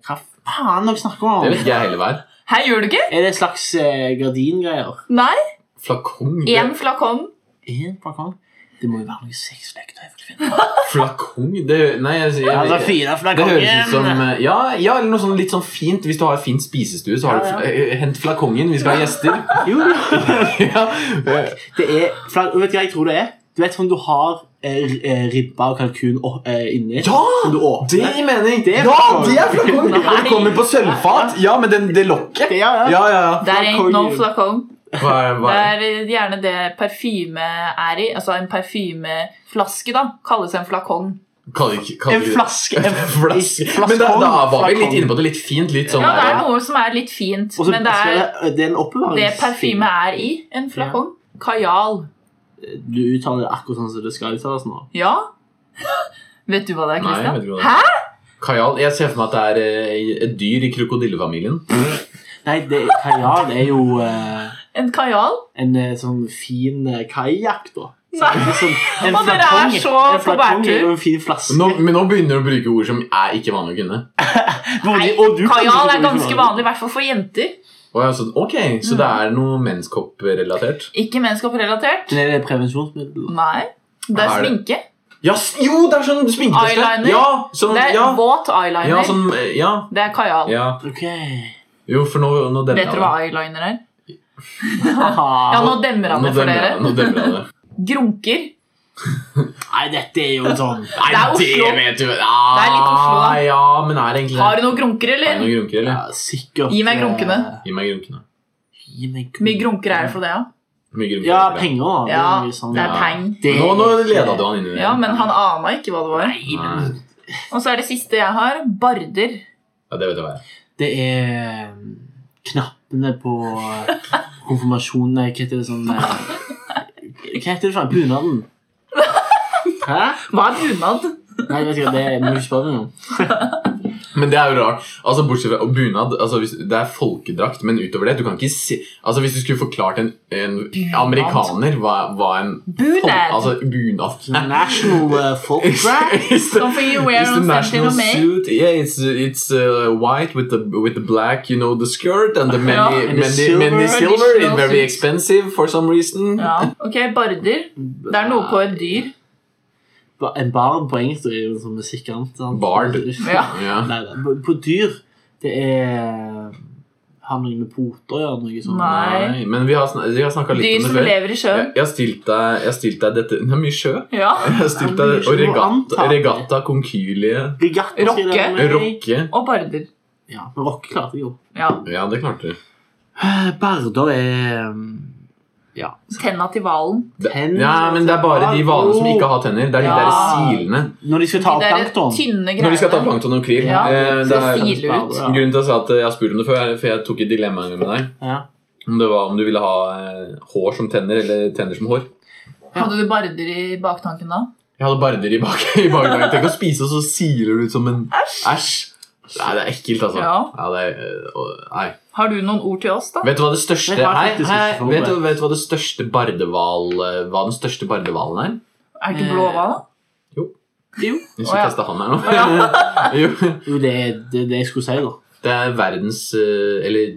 Speaker 2: Hva faen dere snakker om?
Speaker 1: Det vet ikke jeg heller hva er.
Speaker 3: Her gjør du ikke?
Speaker 2: Er det slags eh, gardingreier?
Speaker 3: Nei.
Speaker 1: Flakong? det-
Speaker 3: Én flakong.
Speaker 2: En flakong? Det må jo være noe sexleketøy for kvinner.
Speaker 1: Flakong? Det, nei, jeg, jeg,
Speaker 2: Altså,
Speaker 1: jeg,
Speaker 2: fire
Speaker 1: det høres ut som
Speaker 2: flakongen!
Speaker 1: eh, ja, ja, eller noe sånn litt sånn fint. Hvis du har en fin spisestue, så har du
Speaker 2: Ja,
Speaker 1: fl- eh, Hent flakongen, vi skal ha gjester.
Speaker 2: Jo, jo.
Speaker 1: ja.
Speaker 2: Det er, flak- vet du hva jeg tror det er? Du vet sånn du har eh, r- eh, ribba og kalkun opp- eh, inni?
Speaker 1: Ja!
Speaker 2: Som du åpner?
Speaker 1: Det gir mening!
Speaker 2: Det er
Speaker 1: ja,
Speaker 2: flakong.
Speaker 1: det er flakong! Og det kommer på sølvfat. Ja, men den, det lokket.
Speaker 2: Ja, ja.
Speaker 1: Ja, ja, ja.
Speaker 3: Der ain't no
Speaker 2: Flakong.
Speaker 3: flakong.
Speaker 1: Hva er, hva
Speaker 3: Det
Speaker 1: er?
Speaker 3: er gjerne det parfyme er i. Altså en parfymeflaske, da. Kalles en flakong.
Speaker 1: Kaller ikke- kaller
Speaker 2: En
Speaker 1: ikke-
Speaker 2: flaske.
Speaker 1: En
Speaker 2: En
Speaker 1: flaske.
Speaker 2: flaskong.
Speaker 1: Men da, da var vi litt
Speaker 2: Flakong.
Speaker 1: inne på det litt fint. Litt sånn
Speaker 3: Ja, det er
Speaker 1: der,
Speaker 3: noe som er litt fint,
Speaker 2: Og så
Speaker 3: men det
Speaker 1: altså,
Speaker 2: skal
Speaker 3: er
Speaker 2: det, det er en oppbevarings...
Speaker 3: det parfyme er i. En flakong. Kajal.
Speaker 2: Du uttaler det akkurat sånn som det skal uttales nå.
Speaker 3: Ja. Vet du hva det
Speaker 1: Nei, jeg
Speaker 3: er,
Speaker 1: vet
Speaker 3: Christian?
Speaker 1: ikke hva det
Speaker 3: Hæ?
Speaker 1: Kajal, jeg ser for meg at det er eh, et dyr i krokodillefamilien.
Speaker 2: Nei, det, kajal er jo eh,
Speaker 3: En kajal?
Speaker 2: en eh, sånn fin eh, kajakk, da. Så
Speaker 3: Nei.
Speaker 2: det er sånn, en
Speaker 3: Og dere er
Speaker 2: flakong-
Speaker 3: så
Speaker 2: en flakong
Speaker 3: på
Speaker 2: er
Speaker 3: bærtur.
Speaker 2: jo en fin flaske.
Speaker 1: Nå, men nå begynner du å bruke ord som er ikke vanlig å kunne.
Speaker 2: Hvor
Speaker 3: Nei,
Speaker 2: de- og du kan
Speaker 3: kajal
Speaker 2: bruke
Speaker 3: er
Speaker 2: det
Speaker 3: ganske
Speaker 2: som-
Speaker 3: vanlig, i hvert fall for jenter.
Speaker 1: Og jeg er sånn, ok, Så det er noe menskopp-relatert?
Speaker 3: Ikke menneskeopprelatert.
Speaker 2: Men er det prevensjonsmiddel? da?
Speaker 3: Nei. Det er
Speaker 1: Er det-
Speaker 3: sminke.
Speaker 1: Ja, s- jo, det er sånn sminketeste!
Speaker 3: Eyeliner?
Speaker 1: Ja, sånn,
Speaker 3: Det er
Speaker 1: ja,
Speaker 3: våt eyeliner.
Speaker 1: ja, sånn, eh, ja,
Speaker 3: Det er kajal.
Speaker 1: ja.
Speaker 2: Ok.
Speaker 1: Jo, for nå, nå demmer
Speaker 3: Vet
Speaker 1: jeg
Speaker 3: dere hva eyeliner er? Ja,
Speaker 2: Haha.
Speaker 3: nå demmer han
Speaker 1: Nå
Speaker 3: det for
Speaker 1: demmer jeg-
Speaker 3: dere.
Speaker 1: Nå demmer jeg det.
Speaker 3: Grunker.
Speaker 2: Nei, dette er jo sånn
Speaker 1: Nei,
Speaker 3: Det er Oslo.
Speaker 1: Det vet du. Ah,
Speaker 3: Det er litt Oslo, da.
Speaker 1: Ja, men er det egentlig
Speaker 3: Har du noen grunker,
Speaker 1: Er det
Speaker 3: eller?
Speaker 1: noen grunker, eller?
Speaker 2: ja, sikkert
Speaker 3: Gi meg
Speaker 2: eh,
Speaker 3: grunkene.
Speaker 1: Gi meg grunkene.
Speaker 2: Gi meg
Speaker 3: Hvor mye grunker er det for det, da?
Speaker 1: Mye grimmer.
Speaker 2: Ja, penger da. Det
Speaker 3: Ja,
Speaker 2: er mye sånn.
Speaker 3: det er peng.
Speaker 2: Det-
Speaker 1: Nå, nå leda du han inn i det.
Speaker 3: Ja, men han ana ikke hva det var.
Speaker 2: Nei, men
Speaker 3: Og så er det siste jeg har, barder.
Speaker 1: Ja, det vet jeg hva er.
Speaker 2: det er eh, knappene på eh, konfirmasjonen Nei, Hva heter det sånn eh, Hva heter det for noe? Bunaden? Hæ?
Speaker 3: Hva er bunad?
Speaker 2: Nei, vet ikke hva det er. Må du spørre noe?
Speaker 1: Men det er jo rart. Altså, Bortsett fra og bunad. Altså, hvis, det er folkedrakt, men utover det Du kan ikke si Altså, Hvis du skulle forklart en, en amerikaner hva, hva en folk-
Speaker 3: Bunad.
Speaker 1: Altså, bunad
Speaker 2: Sånn National eh, folk drag?
Speaker 3: Something you wear
Speaker 1: It's the
Speaker 3: on
Speaker 1: national
Speaker 3: September May.
Speaker 1: suit. Yeah, it's it's uh, white with the with the black, you know, the skirt and the many many
Speaker 3: Yeah.
Speaker 2: And the
Speaker 1: many
Speaker 2: silver.
Speaker 1: silver. is
Speaker 3: Additional
Speaker 1: very
Speaker 3: suits.
Speaker 1: expensive for some reason.
Speaker 3: Ja, ok, barder. Det er noe på et dyr.
Speaker 2: Ba- En bard på engelsk er jo en sånn musikant. sant?
Speaker 1: Bard.
Speaker 3: Ja.
Speaker 1: Ja.
Speaker 2: Nei, da, på- på dyr Det er Har noe med poter å gjøre? Noe sånt.
Speaker 3: Nei.
Speaker 1: Nei, men vi har, sn vi har snakka litt
Speaker 3: Dyr
Speaker 1: om det
Speaker 3: som
Speaker 1: før.
Speaker 3: lever i
Speaker 1: Jeg,
Speaker 3: sjøen.
Speaker 1: jeg har stilt deg, jeg har stilt deg dette Det er mye sjø.
Speaker 3: Ja.
Speaker 1: Jeg har stilt
Speaker 2: Det er mye
Speaker 1: deg
Speaker 2: sjø.
Speaker 1: og regatta,
Speaker 2: Antall.
Speaker 1: regatta konkylie,
Speaker 2: Regatta skal jeg
Speaker 3: Rocke.
Speaker 2: lære meg.
Speaker 1: rocke
Speaker 3: Og barder.
Speaker 2: Ja, men rocke klarte jeg jo.
Speaker 3: Ja.
Speaker 1: Ja, det klarte du.
Speaker 2: Eh, Barder er um,
Speaker 3: Tenna til hvalen.
Speaker 2: Tenn-
Speaker 1: Ja, men det er bare de hvalene som ikke har tenner. Det er de
Speaker 3: Ja.
Speaker 1: der silene.
Speaker 2: Når de skal ta
Speaker 3: De
Speaker 2: opp
Speaker 3: der
Speaker 2: plankton.
Speaker 3: tynne
Speaker 1: Når de skal ta
Speaker 3: greiene.
Speaker 1: plankton og krill.
Speaker 3: Ja,
Speaker 1: eh, det
Speaker 3: skal
Speaker 1: er,
Speaker 3: file ut.
Speaker 2: Ja.
Speaker 1: grunnen til at jeg sa at jeg har spurt om det før, er for jeg tok et dilemma en gang med deg.
Speaker 2: Ja.
Speaker 1: Om det var om du ville ha eh, hår som tenner, eller tenner som hår.
Speaker 3: Hadde du barder i baktanken da?
Speaker 1: Jeg hadde barder i bak i bakgangen. Tenk å spise, og så siler du ut som en Æsj! Nei, det er ekkelt, altså.
Speaker 3: Ja.
Speaker 1: det er, eh, å, nei.
Speaker 3: Har du noen ord til oss, da?
Speaker 1: Vet du hva det største
Speaker 2: Jeg har
Speaker 1: Hei,
Speaker 2: faktisk
Speaker 1: hei,
Speaker 2: ikke fått
Speaker 1: vet,
Speaker 2: det.
Speaker 1: du, vet du hva det største bardeval eh, Hva den største bardevalen er?
Speaker 3: Er det ikke blåhval, da?
Speaker 2: Jo.
Speaker 1: Jeg
Speaker 3: Å,
Speaker 1: skulle
Speaker 3: ja.
Speaker 1: kaste han her nå. jo.
Speaker 2: jo, det er det, er det jeg skulle si, da.
Speaker 1: Det er verdens eh, Eller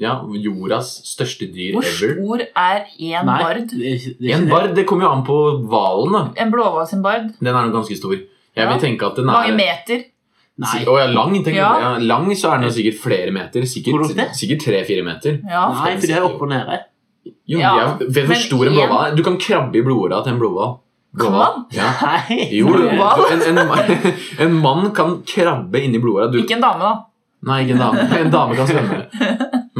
Speaker 1: ja, jordas største dyr
Speaker 3: Hvor
Speaker 1: Eh, ever.
Speaker 3: stor er én
Speaker 2: Nei,
Speaker 3: bard?
Speaker 2: det er ikke- det er
Speaker 1: En
Speaker 2: ikke
Speaker 1: bard, det kommer jo an på hvalen, da.
Speaker 3: En blåhval sin bard?
Speaker 1: Den er jo ganske stor. Jeg
Speaker 3: Ja.
Speaker 1: vil tenke at den er
Speaker 3: Mange meter?
Speaker 2: det. Nei.
Speaker 1: Å ja, lang, tenker
Speaker 3: Ja.
Speaker 1: du. Ja, lang så er den jo sikkert flere meter.
Speaker 2: Hvor ofte?
Speaker 1: Sikkert sikkert tre-fire meter.
Speaker 3: Ja.
Speaker 2: Nei, for det er oppe og nede.
Speaker 1: Jo, men
Speaker 3: Ja,
Speaker 1: jeg vet du
Speaker 3: men
Speaker 1: hvor stor en
Speaker 3: igjen-
Speaker 1: blåhval er? Du kan krabbe i blodåra til en blåhval.
Speaker 3: Kan
Speaker 1: Blåhval?
Speaker 3: man?
Speaker 1: Ja.
Speaker 2: Nei.
Speaker 1: Jo, du-
Speaker 3: Blåhval?
Speaker 1: en, en, en mann kan krabbe inni blodåra. Du-
Speaker 3: Ikke en dame, da.
Speaker 1: Nei, ikke en dame. En dame kan svømme.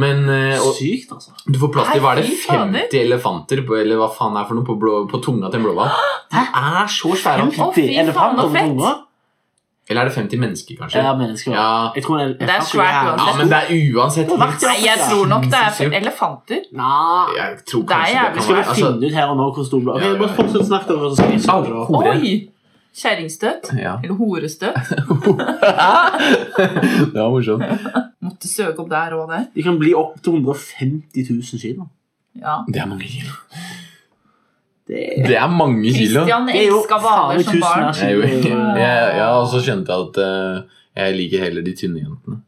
Speaker 1: Men eh, og,
Speaker 2: Sykt, altså.
Speaker 1: du får plass til hva er det,
Speaker 3: Nei, fy fader.
Speaker 1: 50 elefanter på, eller hva faen det er for noe på, blå, på tunga til en blåhval? De er så svære.
Speaker 3: Å, fy faen,
Speaker 2: Elefant
Speaker 3: så
Speaker 2: over
Speaker 3: fett.
Speaker 2: tunga?
Speaker 1: Eller er det 50 mennesker, kanskje?
Speaker 2: Ja, mennesker.
Speaker 1: Ja.
Speaker 2: Jeg tror en
Speaker 3: er altså. svært
Speaker 1: Ja, men det er uansett
Speaker 2: Det er verdt det.
Speaker 3: Nei, jeg tror nok det er for
Speaker 1: Sinnssykt.
Speaker 3: elefanter.
Speaker 2: Nei.
Speaker 1: Jeg tror
Speaker 3: Det er
Speaker 1: kanskje det,
Speaker 3: jævlig
Speaker 1: kan
Speaker 2: Skal vi
Speaker 1: være altså,
Speaker 2: finne ut her og nå hvor stor blå
Speaker 1: Ja,
Speaker 2: Ok,
Speaker 1: ja,
Speaker 2: bare
Speaker 1: ja.
Speaker 2: fortsett å snakke dere, så skal jeg snakke dere.
Speaker 1: Au. Hore.
Speaker 3: Oi! Kjerringstøt.
Speaker 1: Altså, ja.
Speaker 3: Eller horestøt.
Speaker 1: Det var morsomt.
Speaker 3: Måtte søke opp der og der.
Speaker 2: De kan bli opp til 150 000 kilo.
Speaker 3: Ja.
Speaker 1: Det er mange kilo.
Speaker 2: Det er
Speaker 1: Det er mange kilo.
Speaker 3: Christian
Speaker 2: Det er jo
Speaker 3: elska
Speaker 2: faen
Speaker 3: hvaler
Speaker 2: meg
Speaker 3: som
Speaker 2: tusen her
Speaker 3: barn.
Speaker 1: Jeg,
Speaker 2: siden.
Speaker 1: jeg, jeg, og så skjønte jeg at eh, jeg liker heller de tynne jentene.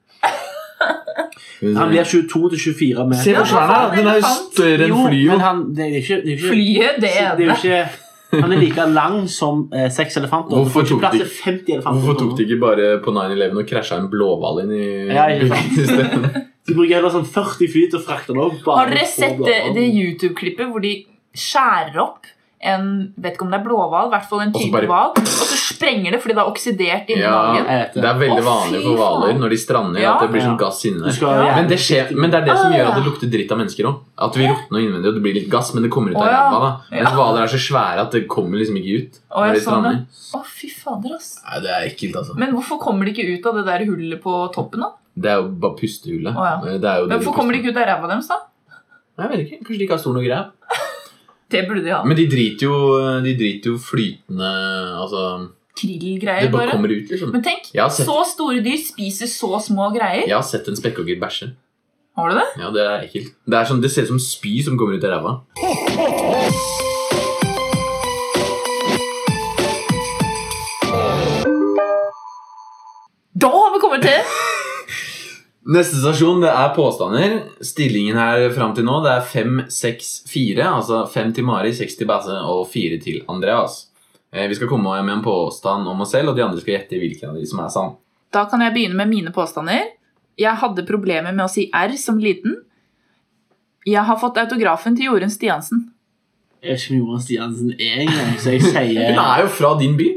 Speaker 2: Han blir 22-24 meter.
Speaker 1: Se hvor svær den er! da. Den er jo større enn
Speaker 2: Jo, men
Speaker 1: Flyo.
Speaker 2: han, det er jo ikke, det er jo ikke,
Speaker 3: Flyet, det er
Speaker 2: det er
Speaker 3: det.
Speaker 2: jo ikke Han er like lang som eh, seks elefanter.
Speaker 1: Hvorfor
Speaker 2: Det er ikke
Speaker 1: tok
Speaker 2: plass
Speaker 1: de-
Speaker 2: til 50 elefanter.
Speaker 1: Hvorfor tok de ikke bare på 9-11 og krasja en blåhval inn i
Speaker 2: Ja, ikke sant.
Speaker 1: bygget isteden?
Speaker 2: De bruker heller sånn 40 fly til å frakte den opp. bare
Speaker 3: Har dere
Speaker 2: for
Speaker 3: sett det,
Speaker 2: blåhvalen.
Speaker 3: det YouTube-klippet hvor de skjærer opp en Vet ikke om det er blåhval, i hvert fall en
Speaker 1: Og så
Speaker 3: type
Speaker 1: bare-
Speaker 3: hval. Og så sprenger det fordi det er oksidert inni
Speaker 1: Ja.
Speaker 3: magen.
Speaker 2: Jeg vet
Speaker 1: Det
Speaker 2: det.
Speaker 1: er
Speaker 3: Å,
Speaker 1: veldig vanlig
Speaker 3: fy
Speaker 1: for hvaler
Speaker 3: faen.
Speaker 1: når de strander,
Speaker 3: Ja.
Speaker 1: at det blir sånn
Speaker 2: Ja.
Speaker 1: gass inni
Speaker 2: Du
Speaker 1: der.
Speaker 2: skal jo
Speaker 3: Ja.
Speaker 1: Men det,
Speaker 2: gjerne-
Speaker 1: skjer, men det er det som
Speaker 3: Ah,
Speaker 1: gjør at det lukter dritt av mennesker òg. At vi råtner innvendig, og det blir litt gass, men det kommer ut av
Speaker 3: Å, ja.
Speaker 1: ræva. da. Mens hvaler er så svære at det kommer liksom ikke ut.
Speaker 3: Å,
Speaker 1: når de
Speaker 3: jeg så det.
Speaker 1: strander.
Speaker 3: Å, fy fader, ass.
Speaker 1: Nei, Det er ekkelt, altså.
Speaker 3: Men hvorfor kommer de ikke ut av det der hullet på toppen, da?
Speaker 1: Det er jo bare pustehullet. Eh,
Speaker 3: Å, ja.
Speaker 1: Det er jo
Speaker 3: Men hvorfor kommer de ikke ut av ræva deres, da?
Speaker 1: Jeg vet ikke, Kanskje de ikke har stor nok greie.
Speaker 3: Det burde de ha.
Speaker 1: Men de driter jo, eh, de driter jo flytende Altså, det
Speaker 3: Krillgreier,
Speaker 1: bare
Speaker 3: bare.
Speaker 1: kommer ut, liksom.
Speaker 3: Men tenk,
Speaker 1: Jeg har sett,
Speaker 3: så store dyr spiser så små greier.
Speaker 1: jeg har sett en spekkhogger bæsje.
Speaker 3: Har du det?
Speaker 1: Ja, Det er ekkelt. Det, er sånn, det ser ut som spy som kommer ut av ræva.
Speaker 3: Da har vi kommet til
Speaker 1: Neste stasjon det er påstander. Stillingen her fram til nå det er 5-6-4. Altså 5 til Mari, 6 til Basse og 4 til Andreas. Eh, vi skal komme med en påstand om oss selv, og de andre skal gjette hvilken av de som er sann.
Speaker 3: Da kan jeg begynne med mine påstander. Jeg hadde problemer med å si R som liten. Jeg har fått autografen til Jorunn Stiansen.
Speaker 2: Jeg vet ikke om Jorunn Stiansen er engang, så jeg sier
Speaker 1: Hun er jo fra din by,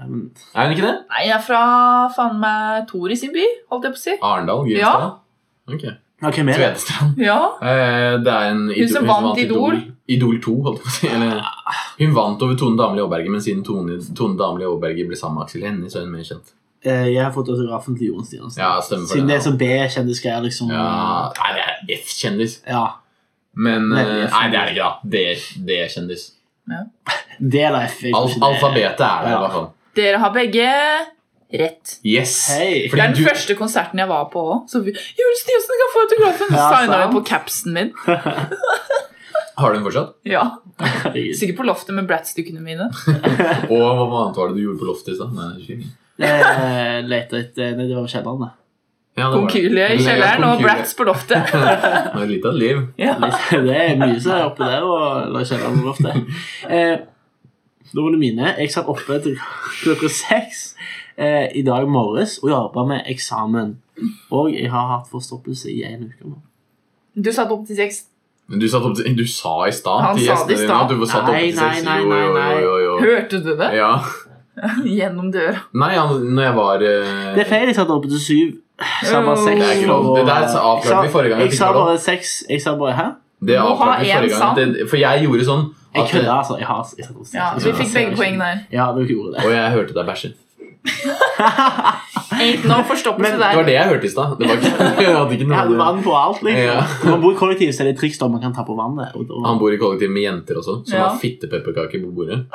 Speaker 2: Ja, men
Speaker 1: er hun ikke det?
Speaker 3: Nei, jeg er fra faen meg Tor i sin by, holdt jeg på å si.
Speaker 1: Arendal? Grimstad?
Speaker 3: Ja.
Speaker 1: Ok.
Speaker 2: Ok, hvem er det?
Speaker 1: Tvedestrand.
Speaker 3: Ja.
Speaker 1: Eh, det er en
Speaker 3: Hun som vant Idol.
Speaker 1: Idol 2, holdt jeg på å si. Eller, hun vant over Tone Damli Aaberge, men siden Tone, Tone Damli Aaberge ble sammen med Aksel Hennie, så er hun mer kjent.
Speaker 2: Eh, Jeg har fått autografen til Jon Stiansen.
Speaker 1: Ja, stemmer for
Speaker 2: Siden det
Speaker 1: det.
Speaker 2: er sånn B-kjendisgreier, liksom.
Speaker 1: ja. Nei, det er F-kjendis.
Speaker 2: Ja.
Speaker 1: Men
Speaker 2: Veldig
Speaker 1: eh,
Speaker 2: F-kjendis.
Speaker 1: Nei, det er det ikke, da. D- D-kjendis.
Speaker 2: Det er da F. jeg
Speaker 1: Al
Speaker 2: synes det-
Speaker 1: alfabetet er det, i
Speaker 2: Ja.
Speaker 1: hvert fall.
Speaker 3: Dere har begge rett.
Speaker 1: Yes!
Speaker 2: Hei.
Speaker 3: Det
Speaker 1: Fordi
Speaker 3: er den
Speaker 1: du-
Speaker 3: første konserten jeg var på òg. Så vi- Jule Stiansen kan få autografen!
Speaker 2: Ja,
Speaker 3: Signa
Speaker 2: sant.
Speaker 3: hun på capsen min.
Speaker 1: Har du den fortsatt?
Speaker 3: Ja,
Speaker 2: Herregud.
Speaker 3: Sikkert på loftet med Bratz-dukkene mine.
Speaker 1: Og hva annet var det du gjorde på loftet i stad? Nei, det er ikke-
Speaker 2: Eh, Leter etter Nei, det var jo kjelleren, det.
Speaker 1: Ja, det var det.
Speaker 3: Konkylie i
Speaker 1: Eller, ja,
Speaker 3: kjelleren og
Speaker 1: konkylie.
Speaker 3: Bratz på loftet.
Speaker 1: Det var litt av et liv.
Speaker 3: Ja.
Speaker 2: Det er mye som er oppe der, og eller kjelleren og loftet. Eh, da var det mine. Jeg satt oppe til klokka seks eh, i dag morges og jobba med eksamen. Og jeg har hatt forstoppelse i en uke nå.
Speaker 3: Du satt opp til seks.
Speaker 1: Men du, satt opp til, du sa i
Speaker 3: Han
Speaker 1: stad til
Speaker 3: sa det i
Speaker 1: gjestene dine
Speaker 3: stad.
Speaker 1: at du var satt opp
Speaker 2: Nei,
Speaker 1: til seks.
Speaker 2: nei, nei,
Speaker 1: Jo, jo,
Speaker 2: nei,
Speaker 1: jo,
Speaker 2: nei.
Speaker 1: jo, jo.
Speaker 3: Hørte du det?
Speaker 1: Ja.
Speaker 3: Gjennom døra.
Speaker 1: Nei, han, når jeg var eh,
Speaker 2: Det er feil. Jeg satt oppe til syv. Sa bare
Speaker 3: Oh.
Speaker 2: seks.
Speaker 3: Det er
Speaker 1: ikke lov. Det der sa- avklarte
Speaker 2: Jeg sa-
Speaker 1: vi forrige gang jeg
Speaker 2: Jeg
Speaker 1: fikk
Speaker 2: sa
Speaker 1: være lov.
Speaker 2: bare seks. Jeg sa bare hæ?
Speaker 1: Det
Speaker 3: Må ha
Speaker 1: avklarte vi
Speaker 3: en
Speaker 1: forrige gang.
Speaker 3: sann.
Speaker 1: Det, for jeg gjorde sånn
Speaker 2: Jeg
Speaker 1: at
Speaker 2: kødda, altså. Jeg har jeg satt oppe til seks.
Speaker 3: Ja, vi fikk begge poeng der.
Speaker 2: Ja, du gjorde det.
Speaker 1: Og jeg hørte deg bæsje.
Speaker 3: Ain't no forstoppelse
Speaker 2: Men-
Speaker 1: Det var
Speaker 3: der.
Speaker 1: det jeg hørte i stad. Det var ikke, jeg hadde ikke
Speaker 2: Jeg hadde
Speaker 1: noe
Speaker 2: vann på alt, liksom.
Speaker 1: Ja.
Speaker 2: Når man bor i kollektiv, så er det et triks da man kan ta på vannet. Og da,
Speaker 1: Han bor i kollektiv med jenter også, som
Speaker 3: Ja.
Speaker 1: har fittepepperkaker på bordet.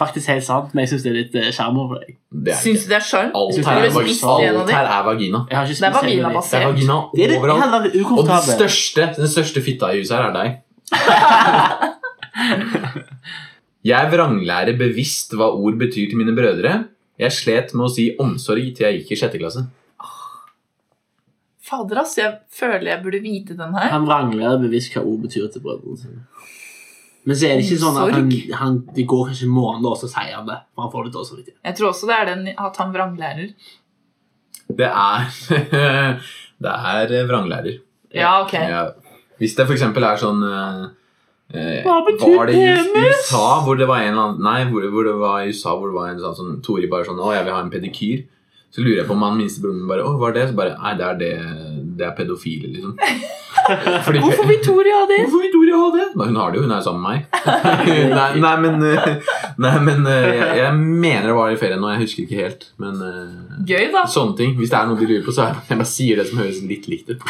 Speaker 2: faktisk helt sant, men jeg syns det er litt eh, sjarm over deg.
Speaker 1: Det er
Speaker 3: Syns
Speaker 1: ikke
Speaker 3: du det er sjarm?
Speaker 1: Alt
Speaker 2: Syns du
Speaker 1: her
Speaker 2: det
Speaker 1: er,
Speaker 2: er
Speaker 1: vagi-
Speaker 3: spist igjen av
Speaker 1: alt
Speaker 3: de?
Speaker 1: her er vagina.
Speaker 2: Jeg har ikke
Speaker 3: Det altså. er
Speaker 2: spist hele
Speaker 3: vagina,
Speaker 2: mitt.
Speaker 3: Basse.
Speaker 1: Det er vagina
Speaker 2: Det er det jeg
Speaker 1: overalt.
Speaker 2: hadde vært
Speaker 1: Og den
Speaker 2: ukomfortabel.
Speaker 1: største, den største fitta i huset her er deg. jeg vranglærer bevisst hva ord betyr til mine brødre. Jeg slet med å si omsorg til jeg gikk i sjette klasse.
Speaker 3: Fader, ass. Jeg føler jeg burde vite den her.
Speaker 2: Han vrangler bevisst hva ord betyr til brødrene sine. Men så er det ikke sånn at han, han, det går kanskje måneder, og så sier han det. For han får det dårlig samvittighet.
Speaker 3: Jeg tror også det er den at han vranglærer.
Speaker 1: Det er Det er vranglærer.
Speaker 3: Ja, ok.
Speaker 1: Ja. Hvis det f.eks. er sånn eh, eh,
Speaker 2: Hva betyr
Speaker 1: Var det i
Speaker 2: penis?
Speaker 1: USA hvor det var en eller annen Nei, hvor, hvor det var i USA hvor det var en sånn, sånn Tori bare sånn Å, jeg vil ha en pedikyr. Så lurer jeg på om han minstebroren min bare Å, hva er det? Så bare Nei, det er det Det er pedofile, liksom. Fordi,
Speaker 3: Hvorfor Victoria det?
Speaker 1: Hvorfor vil Tori ha det? Nei, hun har det jo, hun er jo sammen med meg. nei, nei, men, eh, nei, men eh, jeg, jeg mener det var i ferien nå, jeg husker ikke helt. Men eh,
Speaker 3: Gøy, da.
Speaker 1: sånne ting. Hvis det er noe de lurer på, så er det, jeg bare sier det som høres litt likt ut.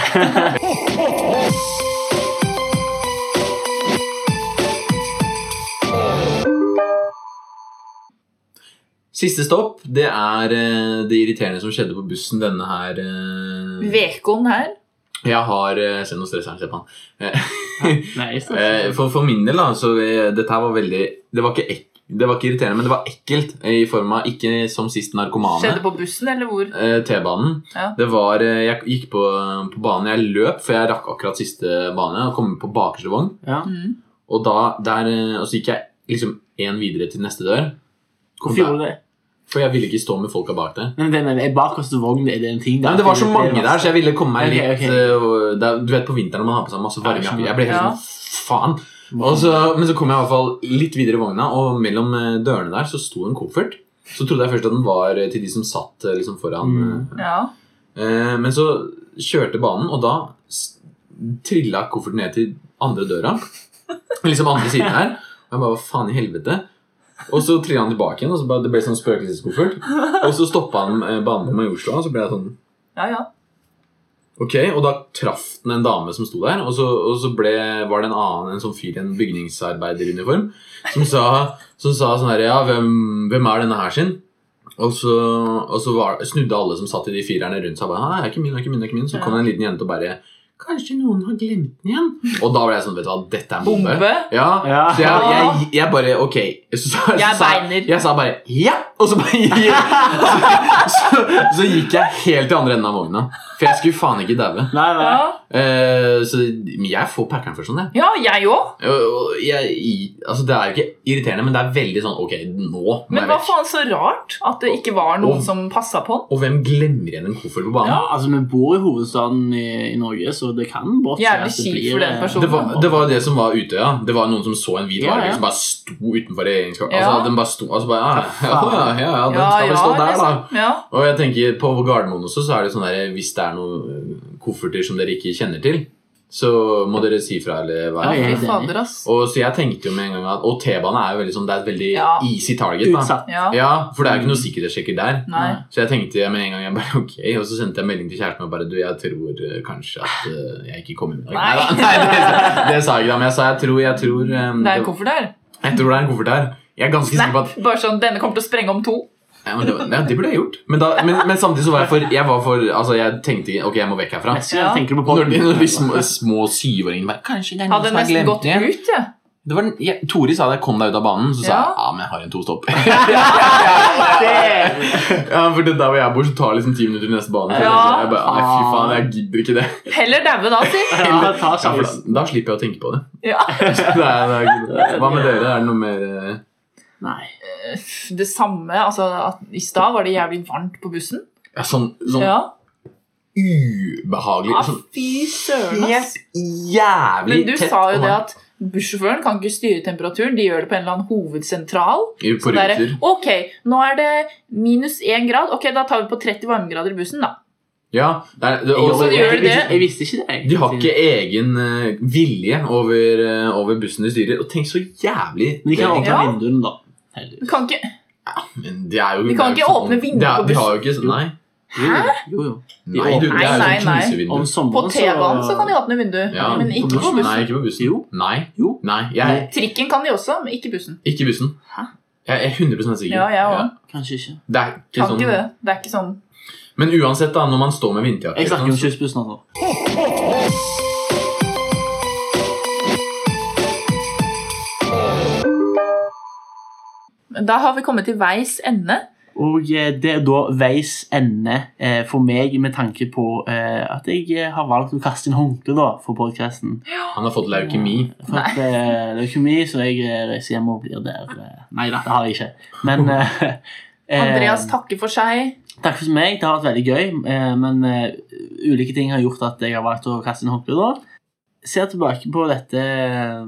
Speaker 1: Siste stopp, det er eh, det irriterende som skjedde på bussen denne her eh,
Speaker 3: Vekon her.
Speaker 1: Jeg har eh, Se, nå stresser han. Se på han.
Speaker 2: Nei, jeg står
Speaker 1: Eh,
Speaker 2: ikke.
Speaker 1: For, for min del, da, så eh, dette her var veldig Det var ikke, ek, det var ikke irriterende, men det var ekkelt eh, i form av ikke som sist narkomane.
Speaker 3: Skjedde på bussen, eller hvor?
Speaker 1: Eh, T-banen.
Speaker 3: Ja.
Speaker 1: Det var eh, Jeg gikk på, på banen. Jeg løp, for jeg rakk akkurat siste bane. Og kom på bakerste vogn.
Speaker 2: Ja.
Speaker 3: Mm.
Speaker 1: Og da der, eh, og så gikk jeg liksom én videre til neste dør. Kom
Speaker 2: Hvorfor gjorde
Speaker 1: der.
Speaker 2: du det?
Speaker 1: For jeg ville ikke stå med folka bak der.
Speaker 2: Nei, Men det mener jeg, bakerste vogn, er det en ting?
Speaker 1: Nei, men Det var så mange der, så jeg ville komme meg
Speaker 2: Ok,
Speaker 1: litt
Speaker 2: ok.
Speaker 1: eh, og det er- Du vet på vinteren når man har på seg masse varme
Speaker 2: Ja, jeg
Speaker 1: jakker.
Speaker 2: skjønner.
Speaker 1: Jeg ble helt
Speaker 3: Ja.
Speaker 1: sånn faen. Og så, men så kom jeg i hvert fall litt videre i vogna, og mellom eh, dørene der så sto en koffert. Så trodde jeg først at den var eh, til de som satt eh, liksom foran. eh.
Speaker 2: Mm.
Speaker 3: Ja.
Speaker 1: Eh, Men så kjørte banen, og da s- trilla kofferten ned til andre døra. Liksom andre siden her. Og jeg bare hva faen i helvete? Og så trilla han tilbake igjen, og så bare, det ble sånn spøkelseskoffert. Og så stoppa han eh, banen på Majorstua, og så ble jeg sånn
Speaker 3: ja, ja.
Speaker 1: Ok, og da traff den en dame som sto der, og så, og så ble, var det en annen, en sånn fyr i en bygningsarbeideruniform, som sa, som sa sånn her, ja, hvem, hvem er denne her sin? Og så, og så var, snudde alle som satt i de firerne rundt seg, og bare, nei, det er ikke min, det er ikke min, det er ikke min. Så kom det en liten jente og bare, kanskje noen har glemt den igjen? Og da ble jeg sånn, vet du hva, dette er en bombe.
Speaker 3: Bombe.
Speaker 1: Ja,
Speaker 2: Ja.
Speaker 1: så jeg, jeg, jeg bare, ok. Så, så, så,
Speaker 3: Jeg
Speaker 1: sa-
Speaker 3: beiner.
Speaker 1: Jeg sa bare, ja! Og så bare så, så, så gikk jeg helt til andre enden av vogna. For jeg skulle faen ikke daue.
Speaker 2: Nei, nei.
Speaker 3: Ja,
Speaker 1: Eh, så men jeg får packeren først sånn, jeg.
Speaker 3: ja jeg òg.
Speaker 1: Og- og jeg. i- Altså, det er jo ikke irriterende, men det er veldig sånn Ok, nå må
Speaker 3: Men
Speaker 1: jeg
Speaker 3: hva
Speaker 1: vekk.
Speaker 3: faen så rart at det ikke var noen
Speaker 1: Og-
Speaker 3: som passa på den.
Speaker 1: Og hvem glemmer igjen en koffert på banen?
Speaker 2: Ja, altså, vi bor i hovedstaden i, i Norge, så det kan godt skje at
Speaker 3: Jævlig
Speaker 2: det
Speaker 3: kjipt
Speaker 2: blir,
Speaker 3: for den
Speaker 2: eh,
Speaker 1: Det
Speaker 3: personen.
Speaker 1: var, det var det som var Utøya. Det var noen som så en hvit
Speaker 2: Ja,
Speaker 1: varebil
Speaker 2: ja.
Speaker 1: som bare sto utenfor regjeringskvartalet.
Speaker 3: Ja.
Speaker 1: Altså, den bare sto altså bare, ja, ja, ja, ja, ja, den
Speaker 3: Ja,
Speaker 1: skal vel
Speaker 3: ja,
Speaker 1: stå der, da.
Speaker 3: liksom. Ja.
Speaker 1: Og jeg tenker på Gardermoen også, så er det sånn der Hvis det er noen kofferter som dere ikke kjenner til, så må dere si fra. eller hva
Speaker 2: Ja,
Speaker 1: det
Speaker 2: jeg
Speaker 1: er.
Speaker 2: er
Speaker 3: Fy
Speaker 2: helt enig.
Speaker 3: fader, ass.
Speaker 1: Og så jeg tenkte jo med en gang at, Og T-bane er jo veldig sånn, det er et veldig
Speaker 3: Ja. Mm.
Speaker 1: easy target. da.
Speaker 2: Utsatt.
Speaker 3: Ja.
Speaker 1: Ja, For det er jo ikke noe sikkerhetssjekker der.
Speaker 3: Nei.
Speaker 1: Så jeg tenkte med en gang jeg bare, ok, Og så sendte jeg melding til kjæresten og bare Du, jeg tror eh, kanskje at eh, jeg ikke kommer i dag.
Speaker 3: Nei.
Speaker 1: Neida, Nei, det, det sa jeg ikke, da, men jeg sa jeg tror jeg tror, eh,
Speaker 3: Det er en
Speaker 1: det-
Speaker 3: koffert der.
Speaker 1: jeg tror det er en koffert her. Jeg er ganske sikker på at
Speaker 3: Snap. Bare sånn, denne kommer til å sprenge om to.
Speaker 1: ja, men det, var- ja, det burde jeg gjort. Men, da, men, men samtidig så var jeg for Jeg, var for, altså, jeg tenkte ok, jeg må vekk herfra.
Speaker 2: Neste gang
Speaker 3: Ja.
Speaker 2: tenker du på
Speaker 1: Når de, når de små, små syvåringene bare Kanskje det er noen
Speaker 3: Hadde
Speaker 1: som har
Speaker 3: nesten
Speaker 1: glemt
Speaker 3: gått
Speaker 1: det.
Speaker 3: ut, jeg.
Speaker 1: det var, den- jeg, Tori sa det, kom deg ut av banen. Så sa
Speaker 3: Ja.
Speaker 1: jeg ja, men jeg har en tostopp. ja, for det der hvor jeg bor, så tar det liksom ti minutter til neste bane.
Speaker 3: Ja.
Speaker 1: Så jeg bare, nei, fy faen, jeg gidder ikke det.
Speaker 3: Heller daue da, si.
Speaker 2: Ja, ta
Speaker 1: Ja, for da,
Speaker 2: sjansen.
Speaker 1: da slipper jeg å tenke på det.
Speaker 3: Ja.
Speaker 1: det, er, det er, hva med dere? Er det noe mer eh,
Speaker 2: Nei.
Speaker 3: Det samme, altså at I stad var det jævlig varmt på bussen.
Speaker 1: ja, sånn, sånn
Speaker 3: Ja.
Speaker 1: ubehagelig
Speaker 3: ja
Speaker 1: sånn,
Speaker 3: fy søren, ass.
Speaker 1: Helt jævlig
Speaker 3: Men du
Speaker 1: tett
Speaker 3: sa jo
Speaker 1: og
Speaker 3: det
Speaker 1: varmt.
Speaker 3: at bussjåføren kan ikke styre temperaturen. De gjør det på en eller annen hovedsentral.
Speaker 1: I- På
Speaker 3: Så det er-
Speaker 1: ruter.
Speaker 3: ok, nå er det minus én grad. Ok, da tar vi på 30 varmegrader i bussen, da.
Speaker 1: Ja, det er, det, og
Speaker 3: så
Speaker 1: så-
Speaker 3: gjør de det.
Speaker 2: Jeg visste ikke det.
Speaker 1: de har ikke egen eh, vilje over, eh, over bussen de styrer. Og tenk så jævlig
Speaker 2: Men de kan åpne
Speaker 3: Ja.
Speaker 2: vinduene, da. Heldigvis.
Speaker 3: Vi kan ikke
Speaker 1: Men det er jo
Speaker 3: Vi kan
Speaker 1: det er jo
Speaker 3: ikke
Speaker 1: sånn-
Speaker 3: åpne vinduer
Speaker 1: det er-
Speaker 3: på
Speaker 1: De har jo ikke Nei.
Speaker 2: Jo, jo, jo, jo.
Speaker 1: Nei, du, det er jo
Speaker 3: Nei,
Speaker 1: sånn
Speaker 3: nei, nei.
Speaker 2: Om
Speaker 1: knusevinduer.
Speaker 3: På
Speaker 2: sommeren
Speaker 3: T-banen så kan de åpne vinduet,
Speaker 1: Ja,
Speaker 3: men ikke på bussen.
Speaker 1: Nei, ikke på bussen.
Speaker 2: Jo.
Speaker 1: Nei.
Speaker 2: Jo.
Speaker 1: Nei, jeg er
Speaker 3: Trikken kan de også, men ikke bussen.
Speaker 1: ikke bussen.
Speaker 3: Hæ?
Speaker 1: Jeg er 100 sikker.
Speaker 3: Ja, jeg også.
Speaker 2: Kanskje ikke.
Speaker 1: Det er ikke
Speaker 3: Kan
Speaker 1: sånn.
Speaker 3: ikke det. Det er ikke sånn
Speaker 1: Men uansett, da, når man står med vinterjakke
Speaker 2: Jeg
Speaker 1: sånn,
Speaker 2: snakker om
Speaker 1: så-
Speaker 2: kystbussen. Altså.
Speaker 3: Men Da har vi kommet til veis ende.
Speaker 2: Og eh, det er da veis ende eh, for meg med tanke på eh, at jeg eh, har valgt å kaste inn håndkle da, for podkasten.
Speaker 1: Han har fått leukemi.
Speaker 2: For at, eh, det er ikke mye, så jeg eh, reiser hjem og blir der. Eh, nei da, det har jeg ikke. Men eh, eh,
Speaker 3: Andreas takker for seg.
Speaker 2: takk for meg. Det har vært veldig gøy. Eh, men eh, ulike ting har gjort at jeg har valgt å kaste inn håndkle da. Ser tilbake på dette eh,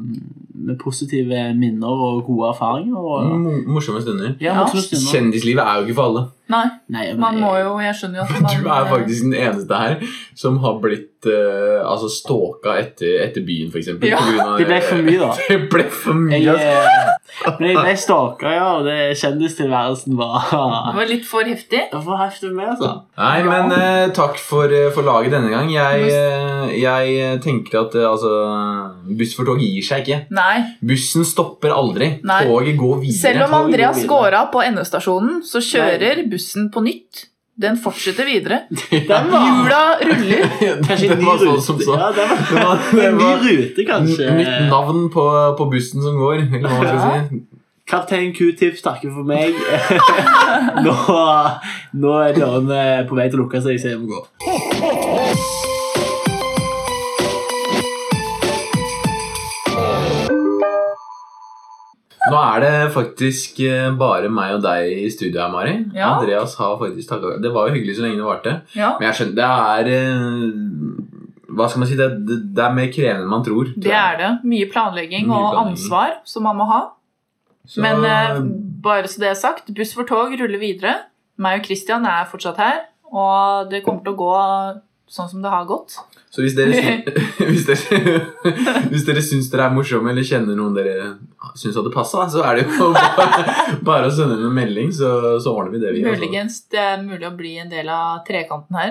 Speaker 2: med positive minner og gode erfaringer. Og,
Speaker 1: Mo- Morsomme stunder.
Speaker 2: ja,
Speaker 3: Ja.
Speaker 2: morsomme stunder.
Speaker 1: Kjendislivet er jo ikke for alle.
Speaker 3: Nei,
Speaker 2: Nei, men
Speaker 3: man
Speaker 2: jeg-
Speaker 3: må jo Jeg skjønner jo at man eh,
Speaker 1: Du er faktisk den eneste her som har blitt eh, altså stalka etter, etter byen, f.eks.
Speaker 3: Ja.
Speaker 2: Det ble for mye, da.
Speaker 1: Det ble for mye.
Speaker 2: Jeg,
Speaker 1: ass.
Speaker 2: eh, men jeg ble stalka, ja, og det kjendistilværelsen
Speaker 3: Det
Speaker 2: var
Speaker 3: var litt for heftig.
Speaker 2: Hvorfor hefter du med, altså?
Speaker 1: Nei, men eh, takk for, eh, for laget denne gang. Jeg, eh, jeg eh, tenker at eh, altså, Buss for tog gir seg ikke.
Speaker 3: Nei.
Speaker 1: Bussen stopper aldri.
Speaker 3: Nei.
Speaker 1: Toget går
Speaker 3: Selv
Speaker 1: videre.
Speaker 3: om Andreas går av på endestasjonen, så kjører bussen på nytt. Den fortsetter videre. Hjula ruller.
Speaker 2: Kanskje en
Speaker 1: det
Speaker 2: ny
Speaker 1: var sånn
Speaker 2: rute?
Speaker 1: som så.
Speaker 2: Ja, det var,
Speaker 1: Det var, det
Speaker 2: en ny
Speaker 1: var
Speaker 2: rute, kanskje.
Speaker 1: n- nytt navn på, på bussen som går. Eller hva man skal si.
Speaker 2: Kaptein Q-tips takker for meg. nå, nå er dørene på vei til å lukke seg, så jeg må gå.
Speaker 1: Nå er det faktisk eh, bare meg og deg i studio her, Mari.
Speaker 3: Ja.
Speaker 1: Andreas har faktisk takka Det var jo hyggelig så lenge det varte.
Speaker 3: Ja,
Speaker 1: Men jeg skjønner, det er eh, Hva skal man si? Det, det, det er mer krevende enn man tror. tror
Speaker 3: det
Speaker 1: jeg.
Speaker 3: er det. Mye planlegging og ansvar som man må ha.
Speaker 1: Så-
Speaker 3: Men eh, bare så det er sagt, buss for tog ruller videre. Meg og Christian er fortsatt her, og det kommer til å gå sånn som det har gått.
Speaker 1: Så hvis dere, syn- hvis dere, hvis dere syns dere er morsomme, eller kjenner noen dere syns hadde passa, så er det jo bare, bare å sende dem en melding, så, så ordner vi det. vi altså.
Speaker 3: Muligens det er mulig å bli en del av trekanten her.